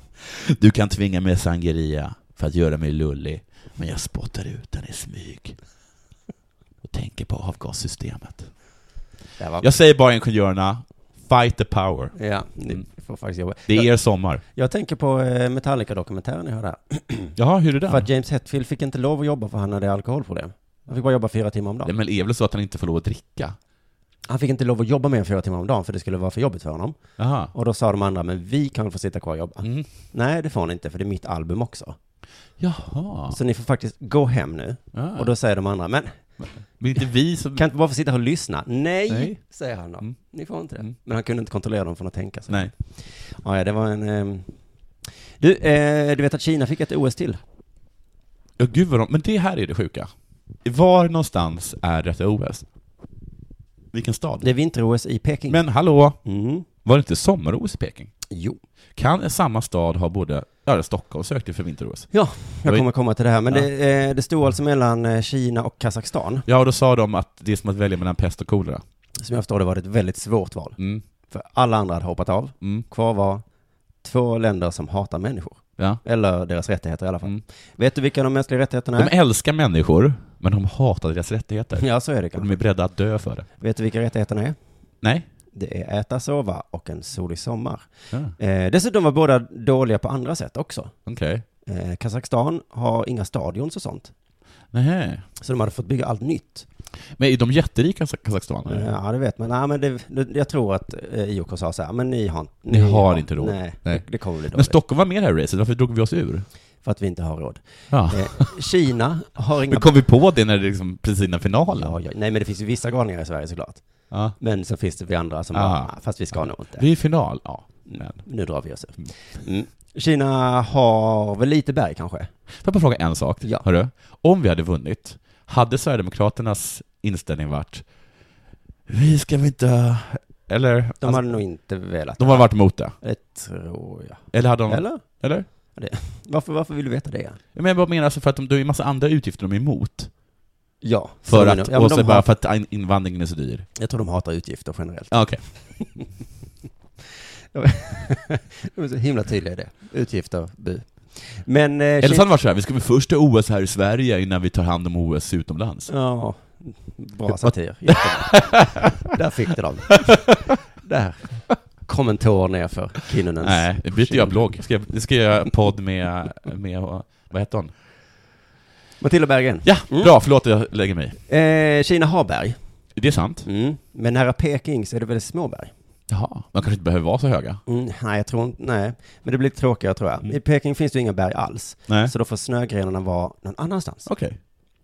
[SPEAKER 4] Du kan tvinga mig sangria för att göra mig lullig, men jag spottar ut den i smyg. Och tänker på avgassystemet.
[SPEAKER 3] Det här var...
[SPEAKER 4] Jag säger bara ingenjörerna, fight the power.
[SPEAKER 3] Ja, ni
[SPEAKER 4] Mm.
[SPEAKER 3] får faktiskt jobba.
[SPEAKER 4] Det är
[SPEAKER 3] Jag,
[SPEAKER 4] er sommar.
[SPEAKER 3] jag tänker på eh, Metallica-dokumentären jag hörde här.
[SPEAKER 4] Jaha, hur är
[SPEAKER 3] För att James Hetfield fick inte lov att jobba för han hade alkoholproblem. Han fick bara jobba fyra timmar om dagen.
[SPEAKER 4] Nej, men det är väl så att han inte får lov att dricka?
[SPEAKER 3] Han fick inte lov att jobba mer än fyra timmar om dagen för det skulle vara för jobbigt för honom.
[SPEAKER 4] Jaha.
[SPEAKER 3] Och då sa de andra, men vi kan få sitta kvar och jobba.
[SPEAKER 4] Mm.
[SPEAKER 3] Nej, det får ni inte, för det är mitt album också.
[SPEAKER 4] Jaha.
[SPEAKER 3] Så ni får faktiskt gå hem nu.
[SPEAKER 4] Ah.
[SPEAKER 3] Och då säger de andra, men
[SPEAKER 4] Men inte vi som...
[SPEAKER 3] kan inte bara få sitta här och lyssna? Nej,
[SPEAKER 4] Nej.
[SPEAKER 3] säger han då.
[SPEAKER 4] Mm.
[SPEAKER 3] Ni får inte det.
[SPEAKER 4] Mm.
[SPEAKER 3] Men han kunde inte kontrollera dem från att tänka sig.
[SPEAKER 4] Nej.
[SPEAKER 3] Ja, ja, det var en... ehm, Du, eh, du vet att Kina fick ett OS till?
[SPEAKER 4] Ja, gud vad de... Men det här är det sjuka. Var någonstans är detta OS? Vilken stad?
[SPEAKER 3] Det är vinter-OS i Peking.
[SPEAKER 4] Men hallå,
[SPEAKER 3] Mm.
[SPEAKER 4] var det inte sommar-OS i Peking?
[SPEAKER 3] Jo.
[SPEAKER 4] Kan samma stad ha både... Ja, Stockholm sökte för vinter-OS.
[SPEAKER 3] Ja, jag
[SPEAKER 4] Oj.
[SPEAKER 3] kommer komma till det här. Men
[SPEAKER 4] Ja.
[SPEAKER 3] det, eh, det stod alltså mellan eh, Kina och Kazakstan.
[SPEAKER 4] Ja, och då sa de att det är som att välja mellan pest och kolera.
[SPEAKER 3] Som jag förstår det var det ett väldigt svårt val.
[SPEAKER 4] Mm,
[SPEAKER 3] För alla andra hade hoppat av.
[SPEAKER 4] mm,
[SPEAKER 3] Kvar var två länder som hatar människor.
[SPEAKER 4] ja.
[SPEAKER 3] Eller deras rättigheter i alla fall.
[SPEAKER 4] Mm.
[SPEAKER 3] Vet du vilka de mänskliga rättigheterna
[SPEAKER 4] De
[SPEAKER 3] är?
[SPEAKER 4] älskar människor, men de hatar deras rättigheter.
[SPEAKER 3] Ja, så är det
[SPEAKER 4] Och
[SPEAKER 3] kanske.
[SPEAKER 4] de är beredda att dö för det.
[SPEAKER 3] Vet du vilka rättigheterna är?
[SPEAKER 4] Nej?
[SPEAKER 3] Det är äta, sova och en solig sommar.
[SPEAKER 4] Ja,
[SPEAKER 3] Eh, dessutom var båda dåliga på andra sätt också.
[SPEAKER 4] Okej.
[SPEAKER 3] Eh, Kazakstan har inga stadions och sånt.
[SPEAKER 4] Nähä.
[SPEAKER 3] Så de hade fått bygga allt nytt. Eh,
[SPEAKER 4] Men är de jätterika, Kazak- Kazakstan? eller?
[SPEAKER 3] Ja, det vet man. Nej, men det, det, jag tror att eh, IOK sa så här, men ni har,
[SPEAKER 4] Ni har inte råd.
[SPEAKER 3] Nej,
[SPEAKER 4] Nej.
[SPEAKER 3] Det, det kommer bli
[SPEAKER 4] Men
[SPEAKER 3] dåligt.
[SPEAKER 4] Stockholm var med i det här racet, varför drog vi oss ur?
[SPEAKER 3] För att vi inte har råd.
[SPEAKER 4] Ja.
[SPEAKER 3] Eh, Kina har inga...
[SPEAKER 4] <laughs> Men kom vi på det när det liksom precis innan
[SPEAKER 3] Ja,
[SPEAKER 4] finalen?
[SPEAKER 3] ja, nej, men det finns ju vissa galningar i Sverige såklart.
[SPEAKER 4] Ja.
[SPEAKER 3] Men så finns det vi andra som
[SPEAKER 4] Ah.
[SPEAKER 3] bara, "Ah, fast vi ska nog inte.
[SPEAKER 4] Vi är i final, ja. Men.
[SPEAKER 3] Nu drar vi oss ur. Mm. Kina har väl lite berg kanske?
[SPEAKER 4] Får jag bara fråga en sak?
[SPEAKER 3] Ja.
[SPEAKER 4] Hörru? Om vi hade vunnit, hade Sverigedemokraternas inställning varit Vi ska väl inte... Eller? alltså,
[SPEAKER 3] De hade nog inte velat.
[SPEAKER 4] de hade varit emot det?
[SPEAKER 3] Det tror jag.
[SPEAKER 4] Eller hade de...
[SPEAKER 3] Eller?
[SPEAKER 4] Eller?
[SPEAKER 3] Varför, varför vill du veta det?
[SPEAKER 4] Jag menar, vad menar alltså för att de, det är ju massa andra utgifter de är emot.
[SPEAKER 3] Ja.
[SPEAKER 4] För
[SPEAKER 3] så
[SPEAKER 4] att,
[SPEAKER 3] menar- ja, men
[SPEAKER 4] och
[SPEAKER 3] de
[SPEAKER 4] så bara
[SPEAKER 3] hat-
[SPEAKER 4] för att in- invandringen är så dyr.
[SPEAKER 3] Jag tror de hatar utgifter generellt.
[SPEAKER 4] Ja, Okej.
[SPEAKER 3] De är så himla tydliga i det. Utgifter, bu. Men... Eh,
[SPEAKER 4] Eller så
[SPEAKER 3] Kina...
[SPEAKER 4] hade det varit så här, vi ska väl först ha OS här i Sverige innan vi tar hand om OS utomlands.
[SPEAKER 3] Ja. <laughs> Bra satir. Jättebra. Där fick du dem. Där. kom en tår ner för Kinnunens
[SPEAKER 4] Nej, nu byter jag
[SPEAKER 3] kind.
[SPEAKER 4] blogg. Ska jag, ska jag göra podd med, med, vad heter hon?
[SPEAKER 3] Matilda Berggren.
[SPEAKER 4] Ja,
[SPEAKER 3] Mm.
[SPEAKER 4] bra, förlåt jag lägger mig i.
[SPEAKER 3] Eh, Kina Haberg.
[SPEAKER 4] Det är sant.
[SPEAKER 3] Mm. Men nära Pekings är det väl småberg?
[SPEAKER 4] Jaha. Man kanske inte behöver vara så höga.
[SPEAKER 3] Mm, nej, jag tror inte, nej. Men det blir lite tråkigare tror jag. I Peking finns det ju inga berg alls.
[SPEAKER 4] Nej.
[SPEAKER 3] Så då får snögrenarna vara någon annanstans.
[SPEAKER 4] Okej.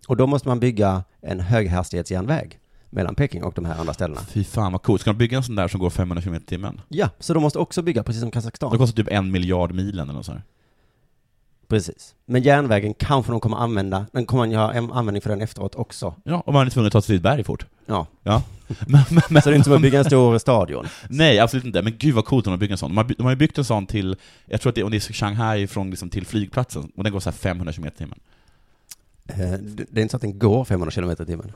[SPEAKER 3] Och då måste man bygga en höghastighetsjärnväg mellan Peking och de här andra ställena.
[SPEAKER 4] Fy fan vad coolt. Ska de bygga en sån där som går 500 km i timmen?
[SPEAKER 3] Ja, så de måste också bygga precis som
[SPEAKER 4] Det
[SPEAKER 3] Kazakstan.
[SPEAKER 4] kostar typ en miljard milen eller något sånt.
[SPEAKER 3] Precis. Men järnvägen kanske de kommer använda, den kommer man ju ha en användning för den efteråt också.
[SPEAKER 4] Ja, och man är tvungen att ta sig till ett berg fort.
[SPEAKER 3] Ja.
[SPEAKER 4] Ja. <laughs> Men, men, men,
[SPEAKER 3] Så det är inte som att bygga en stor stadion.
[SPEAKER 4] Nej, absolut inte. Men gud vad coolt om de bygger en sån. De har, by- de har ju byggt en sån till, jag tror att det, om det är Shanghai från liksom till flygplatsen, och den går så här 500 km i timmen.
[SPEAKER 3] Eh, Det det är inte så att den går 500 km i timmen.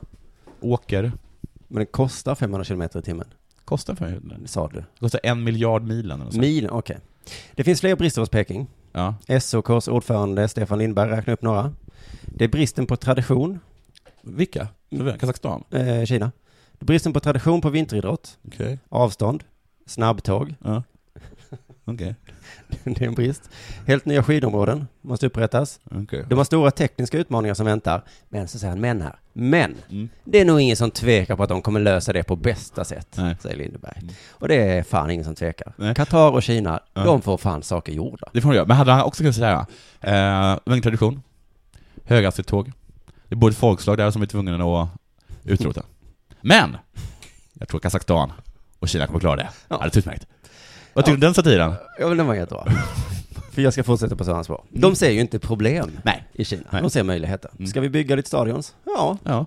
[SPEAKER 4] Åker,
[SPEAKER 3] Men den kostar 500 km i timmen,
[SPEAKER 4] kostar för Det
[SPEAKER 3] sa du.
[SPEAKER 4] kostar en miljard milen eller något sånt.
[SPEAKER 3] Milen, okej. Det finns fler brister hos Peking.
[SPEAKER 4] Ja.
[SPEAKER 3] SOKs ordförande Stefan Lindberg räknar upp några. Det är bristen på tradition,
[SPEAKER 4] Vilka? Kazakstan?
[SPEAKER 3] eh, Kina. Bristen på tradition på vinteridrott,
[SPEAKER 4] Okej.
[SPEAKER 3] avstånd, snabbtåg, <laughs>
[SPEAKER 4] Ja. Okej.
[SPEAKER 3] det är en brist. Helt nya skidområden måste upprättas.
[SPEAKER 4] Okej.
[SPEAKER 3] De har stora tekniska utmaningar som väntar. Men så säger han men här. Men
[SPEAKER 4] Mm.
[SPEAKER 3] det är nog ingen som tvekar på att de kommer lösa det på bästa sätt,
[SPEAKER 4] Nej.
[SPEAKER 3] säger Lindberg.
[SPEAKER 4] Mm.
[SPEAKER 3] Och det är fan ingen som tvekar.
[SPEAKER 4] Nej.
[SPEAKER 3] Qatar och Kina,
[SPEAKER 4] Ja.
[SPEAKER 3] de får fan saker gjorda.
[SPEAKER 4] Det får man göra. Men hade han också kunnat säga, eh, ingen tradition, höghastighetståg, det bor ett folkslag där som är tvungna att utrota. Men! Jag tror Kazakstan och Kina kommer klara det.
[SPEAKER 3] Ja.
[SPEAKER 4] Alldeles utmärkt. Vad tycker du om den satiren?
[SPEAKER 3] Ja, men den var jättebra.
[SPEAKER 4] <laughs>
[SPEAKER 3] För jag ska fortsätta på samma spår. De ser ju inte problem
[SPEAKER 4] Nej.
[SPEAKER 3] i Kina.
[SPEAKER 4] Nej.
[SPEAKER 3] De ser möjligheter.
[SPEAKER 4] Mm.
[SPEAKER 3] Ska vi bygga lite stadions? Ja.
[SPEAKER 4] Ja.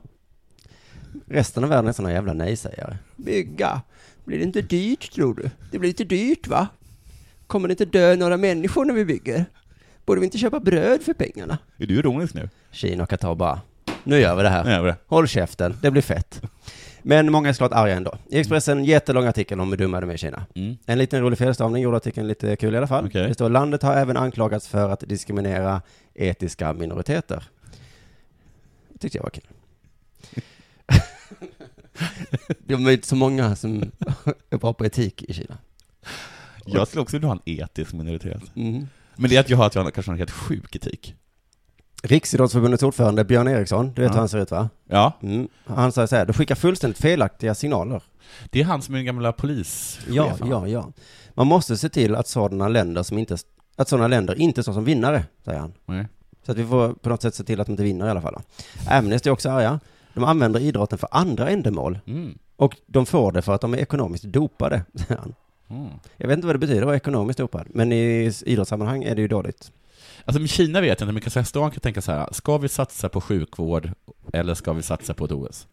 [SPEAKER 3] Resten av världen är såna jävla nej-sägare. Bygga? Blir det inte dyrt, tror du? Det blir lite dyrt, va? Kommer det inte dö några människor när vi bygger? Borde vi inte köpa bröd för pengarna?
[SPEAKER 4] Är du ironisk nu?
[SPEAKER 3] Kina och Qatar bara, nu gör vi det här.
[SPEAKER 4] Nej, det.
[SPEAKER 3] Håll käften, det blir fett. Men många är såklart arga ändå. I Expressen, jättelång artikel om hur dumma de är i Kina.
[SPEAKER 4] Mm.
[SPEAKER 3] En liten rolig felstavning gjorde artikeln lite kul i alla fall.
[SPEAKER 4] Okej.
[SPEAKER 3] Det står landet har även anklagats för att diskriminera etiska minoriteter. Det tyckte jag var kul.
[SPEAKER 4] <laughs>
[SPEAKER 3] De är inte så många som är bra på etik i Kina.
[SPEAKER 4] Jag skulle också vilja ha en etisk minoritet.
[SPEAKER 3] Mm.
[SPEAKER 4] Men det är att jag har att jag kanske har en helt sjuk etik.
[SPEAKER 3] Riksidrottsförbundets ordförande Björn Eriksson, du vet
[SPEAKER 4] Ja.
[SPEAKER 3] hur han ser ut va?
[SPEAKER 4] Ja,
[SPEAKER 3] Mm. Han sa så här, du skickar fullständigt felaktiga signaler.
[SPEAKER 4] det är han som är den gamla polischefen.
[SPEAKER 3] Ja, ja, ja. Man måste se till att sådana länder som inte, att sådana länder inte står som vinnare, säger han.
[SPEAKER 4] Nej.
[SPEAKER 3] Så att vi får på något sätt se till att de inte vinner i alla fall. då. Amnesty är också arga. De använder idrotten för andra ändamål
[SPEAKER 4] Mm.
[SPEAKER 3] och de får det för att de är ekonomiskt dopade, säger han.
[SPEAKER 4] Mm.
[SPEAKER 3] Jag vet inte vad det betyder att vara ekonomiskt dopad, men i idrottssammanhang är det ju dåligt.
[SPEAKER 4] Alltså med Kina vet jag inte, men Kazakstan kan tänka så här, ska vi satsa på sjukvård eller ska vi satsa på ett OS?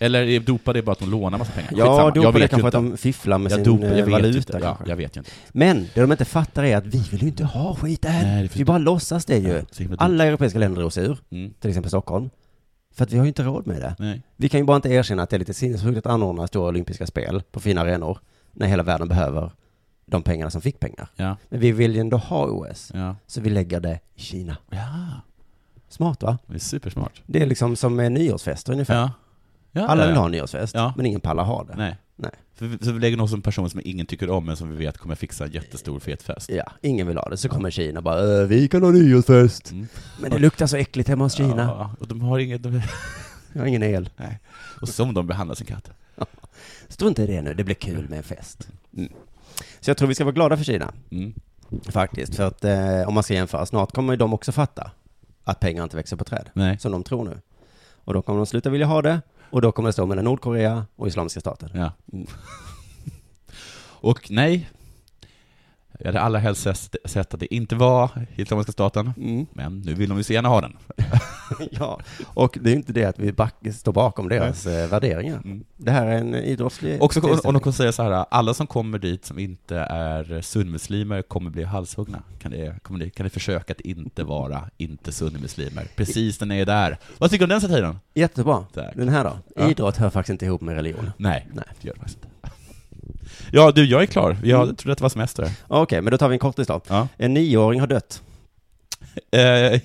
[SPEAKER 4] Eller är dopade bara att de lånar massa pengar?
[SPEAKER 3] Ja, dopade
[SPEAKER 4] vet ju
[SPEAKER 3] kanske att
[SPEAKER 4] inte.
[SPEAKER 3] de fifflar med
[SPEAKER 4] jag
[SPEAKER 3] sin
[SPEAKER 4] dopar,
[SPEAKER 3] eh,
[SPEAKER 4] jag vet
[SPEAKER 3] valuta
[SPEAKER 4] inte. Ja,
[SPEAKER 3] kanske.
[SPEAKER 4] jag vet ju inte.
[SPEAKER 3] Men det de inte fattar är att vi vill ju inte ha skit
[SPEAKER 4] Nej, det
[SPEAKER 3] än.
[SPEAKER 4] förstår
[SPEAKER 3] Vi bara låtsas det ju.
[SPEAKER 4] Så himla dumt.
[SPEAKER 3] Alla europeiska länder drog sig ur,
[SPEAKER 4] Mm.
[SPEAKER 3] till exempel Stockholm. För att vi har ju inte råd med det.
[SPEAKER 4] Nej.
[SPEAKER 3] Vi kan ju bara inte erkänna att det är lite sinnessjukt att anordna stora olympiska spel på fina arenor när hela världen behöver de pengarna som fick pengar.
[SPEAKER 4] Ja,
[SPEAKER 3] Men vi vill ju ändå ha OS,
[SPEAKER 4] ja.
[SPEAKER 3] så vi lägger det i Kina.
[SPEAKER 4] Ja,
[SPEAKER 3] Smart va?
[SPEAKER 4] det är supersmart.
[SPEAKER 3] Det är liksom som eh, nyårsfester ungefär.
[SPEAKER 4] Ja. ja
[SPEAKER 3] Alla
[SPEAKER 4] ja,
[SPEAKER 3] vill
[SPEAKER 4] ja.
[SPEAKER 3] ha en nyårsfest,
[SPEAKER 4] Ja.
[SPEAKER 3] men ingen pallar ha det.
[SPEAKER 4] Nej.
[SPEAKER 3] Nej.
[SPEAKER 4] För vi, så vi lägger någon som person som ingen tycker om, men som vi vet kommer fixa en jättestor fet fest.
[SPEAKER 3] Ja, ingen vill ha det. Så kommer Kina bara "Äh, vi kan ha nyårsfest.
[SPEAKER 4] Mm.
[SPEAKER 3] Men det luktar så äckligt hemma hos Kina.
[SPEAKER 4] Ja, och de har inget... De, <laughs>
[SPEAKER 3] Jag har ingen el.
[SPEAKER 4] och som de behandlar sin katt.
[SPEAKER 3] Strunt i det nu, det blir kul med en fest. Mm. Så jag tror vi ska vara glada för Kina.
[SPEAKER 4] Mm.
[SPEAKER 3] Faktiskt, för att eh, om man ska jämföra, snart kommer ju de också fatta att pengar inte växer på träd,
[SPEAKER 4] Nej.
[SPEAKER 3] som de tror nu. Och då kommer de sluta vilja ha det, och då kommer det stå mellan Nordkorea och Islamiska staten.
[SPEAKER 4] Ja.
[SPEAKER 3] Mm.
[SPEAKER 4] Och nej, jag hade allra helst sett sett att det inte var Islamiska staten,
[SPEAKER 3] Mm.
[SPEAKER 4] men nu vill de ju så gärna ha den.
[SPEAKER 3] <laughs> ja, och det är ju inte det att vi back, står bakom deras eh, värderingar.
[SPEAKER 4] Mm.
[SPEAKER 3] Det här är en idrottslig...
[SPEAKER 4] Också om- om de
[SPEAKER 3] tillställning.
[SPEAKER 4] kommer säga så här, alla som kommer dit som inte är sunnmuslimer kommer bli halshuggna. Kan ni, kommer ni, kan ni försöka att inte vara inte sunnmuslimer? Precis när ni är där. Vad tycker du om den satiren?
[SPEAKER 3] Jättebra.
[SPEAKER 4] Tack.
[SPEAKER 3] Den här då?
[SPEAKER 4] Ja.
[SPEAKER 3] Idrott hör faktiskt inte ihop med religion.
[SPEAKER 4] Nej,
[SPEAKER 3] Nej.
[SPEAKER 4] det gör det faktiskt inte. Ja, du, jag är klar. Jag trodde att det var semester.
[SPEAKER 3] Okej, men då tar vi en kortis då.
[SPEAKER 4] Ja.
[SPEAKER 3] En nioåring har dött.
[SPEAKER 4] Eh,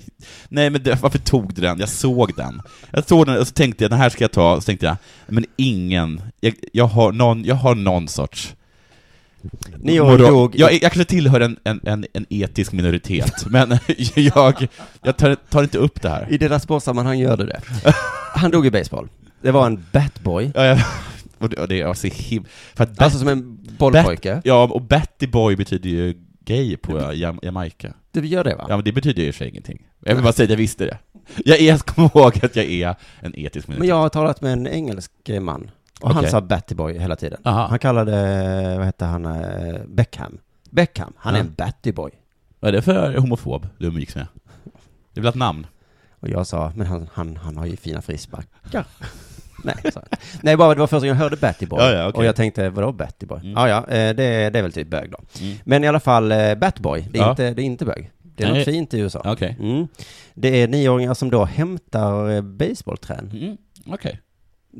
[SPEAKER 4] nej men det, varför tog du den? Jag såg den. Jag såg den och så tänkte jag, den här ska jag ta, så tänkte jag, men ingen, jag, jag, har, någon, jag har någon sorts
[SPEAKER 3] Nioåringen
[SPEAKER 4] Moral-
[SPEAKER 3] dog.
[SPEAKER 4] Jag, jag kanske tillhör en, en, en, en etisk minoritet, <laughs> men jag, jag tar, tar inte upp det här.
[SPEAKER 3] I deras sportsammanhang gör du det. <laughs> Han dog i baseball. Det var en batboy.
[SPEAKER 4] Ja, jag, <laughs> och det, och det, jag ser him- för att
[SPEAKER 3] Alltså som en bollpojke.
[SPEAKER 4] Ja, och Betty Boy betyder ju gay på Jam- Jamaica.
[SPEAKER 3] Du gör det va?
[SPEAKER 4] Ja, men det betyder ju i och för sig ingenting. Jag vill bara säga att jag visste det. Jag, är, jag kommer ihåg att jag är en etisk
[SPEAKER 3] Men
[SPEAKER 4] minoritet.
[SPEAKER 3] jag har talat med en engelsk man. Och han
[SPEAKER 4] Okej.
[SPEAKER 3] sa Battyboy hela tiden.
[SPEAKER 4] Aha.
[SPEAKER 3] Han kallade, vad hette han, eh, Beckham. Beckham, han är
[SPEAKER 4] Ja.
[SPEAKER 3] en Battyboy.
[SPEAKER 4] Vad är det för homofob du umgicks med? Det är väl ett namn?
[SPEAKER 3] Och jag sa, men han, han, han har ju fina
[SPEAKER 4] <laughs>
[SPEAKER 3] frisbackar. Nej, sa han. Nej, bara det var första gången jag hörde Battyboy.
[SPEAKER 4] Ja, ja, okej.
[SPEAKER 3] Och jag tänkte, vadå Battyboy?
[SPEAKER 4] Mm.
[SPEAKER 3] Ja, ja, eh, det, är- det är väl typ bög då.
[SPEAKER 4] Mm.
[SPEAKER 3] Men i alla fall, eh, Batboy, det är,
[SPEAKER 4] Ja.
[SPEAKER 3] inte, det är inte bög. Det är
[SPEAKER 4] Nej.
[SPEAKER 3] något fint i USA.
[SPEAKER 4] Okej.
[SPEAKER 3] Mm. Det är nioåringar som då hämtar eh, baseballträn,
[SPEAKER 4] Mm. Okej.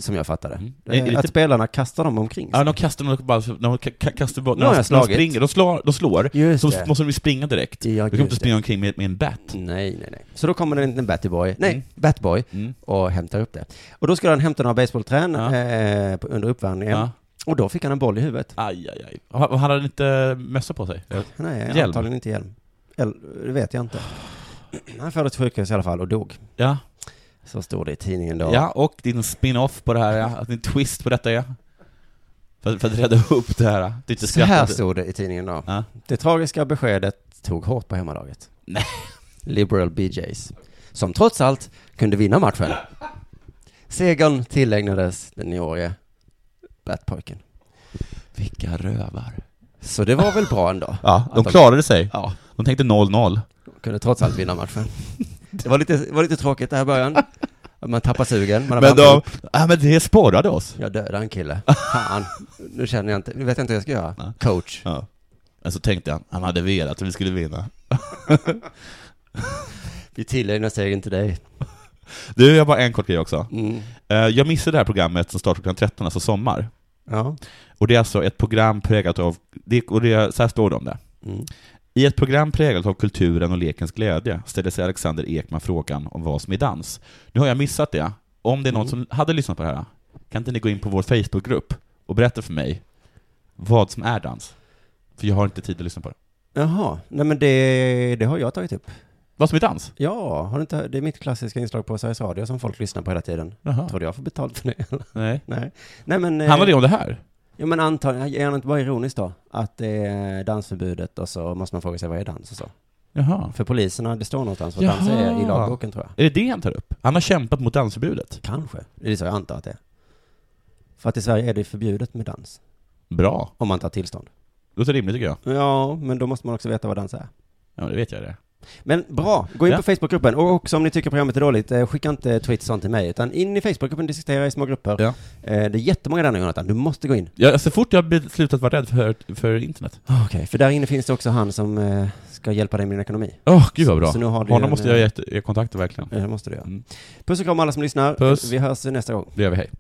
[SPEAKER 3] som jag fattade.
[SPEAKER 4] Mm.
[SPEAKER 3] Eh,
[SPEAKER 4] Är- är det
[SPEAKER 3] Att
[SPEAKER 4] lite-
[SPEAKER 3] spelarna kastar dem omkring sig.
[SPEAKER 4] Ja, de kastar något bara, de ka- ka- kastar bort,
[SPEAKER 3] Nu har
[SPEAKER 4] när de,
[SPEAKER 3] jag
[SPEAKER 4] när de
[SPEAKER 3] slagit.
[SPEAKER 4] springer, de slår, de slår
[SPEAKER 3] Just
[SPEAKER 4] så
[SPEAKER 3] det.
[SPEAKER 4] måste de ju springa direkt.
[SPEAKER 3] Ja,
[SPEAKER 4] du kan inte
[SPEAKER 3] just Mm.
[SPEAKER 4] springa omkring med, med en bat.
[SPEAKER 3] Nej, nej, nej. Så då kommer det en liten Batboy, nej,
[SPEAKER 4] Mm.
[SPEAKER 3] Batboy,
[SPEAKER 4] Mm.
[SPEAKER 3] och hämtar upp det. Och då skulle han hämta några basebollträn
[SPEAKER 4] Ja.
[SPEAKER 3] eh, på- under uppvärmningen.
[SPEAKER 4] Ja.
[SPEAKER 3] Och då fick han en boll i huvudet.
[SPEAKER 4] Aj, aj, aj. Han, han hade inte mössa på sig?
[SPEAKER 3] Nej,
[SPEAKER 4] Hjälm.
[SPEAKER 3] antagligen inte hjälm. Eller, det vet jag
[SPEAKER 4] <sighs>
[SPEAKER 3] inte. Han fördes till sjukhus i alla fall och dog.
[SPEAKER 4] Ja.
[SPEAKER 3] Så står det i tidningen då.
[SPEAKER 4] ja, och din spin-off på det här, ja. Att din twist på detta är? För, för att rädda upp det här. ja. Det är inte
[SPEAKER 3] Så här
[SPEAKER 4] skrattat.
[SPEAKER 3] stod det i tidningen då.
[SPEAKER 4] Ja.
[SPEAKER 3] Det tragiska beskedet tog hårt på hemmalaget.
[SPEAKER 4] Nej.
[SPEAKER 3] <laughs> Liberal BJs. Som trots allt kunde vinna matchen. Segern tillägnades den nioårige Batpojken.
[SPEAKER 4] Vilka rövar.
[SPEAKER 3] Så det var väl bra ändå?
[SPEAKER 4] Ja, de
[SPEAKER 3] Att de-
[SPEAKER 4] klarade sig.
[SPEAKER 3] Ja.
[SPEAKER 4] De tänkte 0-0.
[SPEAKER 3] kunde trots allt vinna matchen. Det var lite, var lite tråkigt det här i början. Att Man tappar sugen. Man har
[SPEAKER 4] Men,
[SPEAKER 3] värmt
[SPEAKER 4] de,
[SPEAKER 3] upp.
[SPEAKER 4] ja, men det sporrade oss.
[SPEAKER 3] Jag dödar en kille. Fan, nu känner jag inte, nu vet jag inte vad jag ska
[SPEAKER 4] Nej.
[SPEAKER 3] göra. Coach.
[SPEAKER 4] Ja. Men så tänkte han, han hade velat att vi skulle vinna.
[SPEAKER 3] Vi tillägnar segern till dig.
[SPEAKER 4] Du, jag har bara en kort grej också.
[SPEAKER 3] Mm.
[SPEAKER 4] Eh, Jag missade det här programmet som startar klockan 13, alltså sommar.
[SPEAKER 3] Ja.
[SPEAKER 4] Och det är alltså ett program präglat av, det, och det, så här står det om det.
[SPEAKER 3] Mm.
[SPEAKER 4] I ett program präglat av kulturen och lekens glädje ställer sig Alexander Ekman frågan om vad som är dans. Nu har jag missat det. Om det är någon som hade lyssnat på det här, kan inte ni gå in på vår Facebookgrupp och berätta för mig vad som är dans? För jag har inte tid att lyssna på det.
[SPEAKER 3] Jaha, nej men det, det har jag tagit upp.
[SPEAKER 4] Vad som är dans?
[SPEAKER 3] Ja, har du inte, det är mitt klassiska inslag på Sveriges Radio som folk lyssnar på hela tiden.
[SPEAKER 4] Jaha.
[SPEAKER 3] Tror du jag får betalt för det? <laughs> eller?
[SPEAKER 4] Nej.
[SPEAKER 3] nej. nej men... eh,
[SPEAKER 4] Handlar det om det här?
[SPEAKER 3] Ja men antagligen, jag är nog inte bara ironisk då. Att det är dansförbudet och så måste man fråga sig vad är dans och så.
[SPEAKER 4] Jaha.
[SPEAKER 3] För poliserna, det står någonstans vad
[SPEAKER 4] Jaha.
[SPEAKER 3] dans är i lagboken tror jag.
[SPEAKER 4] Är det det han tar upp? Han har kämpat mot dansförbudet.
[SPEAKER 3] Kanske. Det är så jag antar att det är. För att i Sverige är det förbjudet med dans.
[SPEAKER 4] Bra.
[SPEAKER 3] Om man tar tillstånd.
[SPEAKER 4] Låter rimligt tycker jag.
[SPEAKER 3] Ja, men då måste man också veta vad dans är.
[SPEAKER 4] Ja, det vet jag det.
[SPEAKER 3] Men bra, gå in
[SPEAKER 4] Ja.
[SPEAKER 3] på Facebookgruppen. Och också om ni tycker programmet är dåligt, eh, skicka inte tweets och sånt till mig. Utan in i Facebookgruppen, diskutera i små grupper.
[SPEAKER 4] Ja.
[SPEAKER 3] Eh, Det är jättemånga där nu Jonathan, du måste gå in.
[SPEAKER 4] Ja, så fort jag be- slutat vara rädd för, för internet.
[SPEAKER 3] Okej, för där inne finns det också han som eh, ska hjälpa dig med din ekonomi.
[SPEAKER 4] Åh, gud vad bra.
[SPEAKER 3] Så nu har du
[SPEAKER 4] Honom
[SPEAKER 3] en,
[SPEAKER 4] måste
[SPEAKER 3] eh,
[SPEAKER 4] jag ge- ge kontakter verkligen.
[SPEAKER 3] Eh, Det måste du göra.
[SPEAKER 4] Mm.
[SPEAKER 3] Puss och kram alla som lyssnar.
[SPEAKER 4] Puss.
[SPEAKER 3] Vi hörs nästa gång.
[SPEAKER 4] Det gör vi, hej.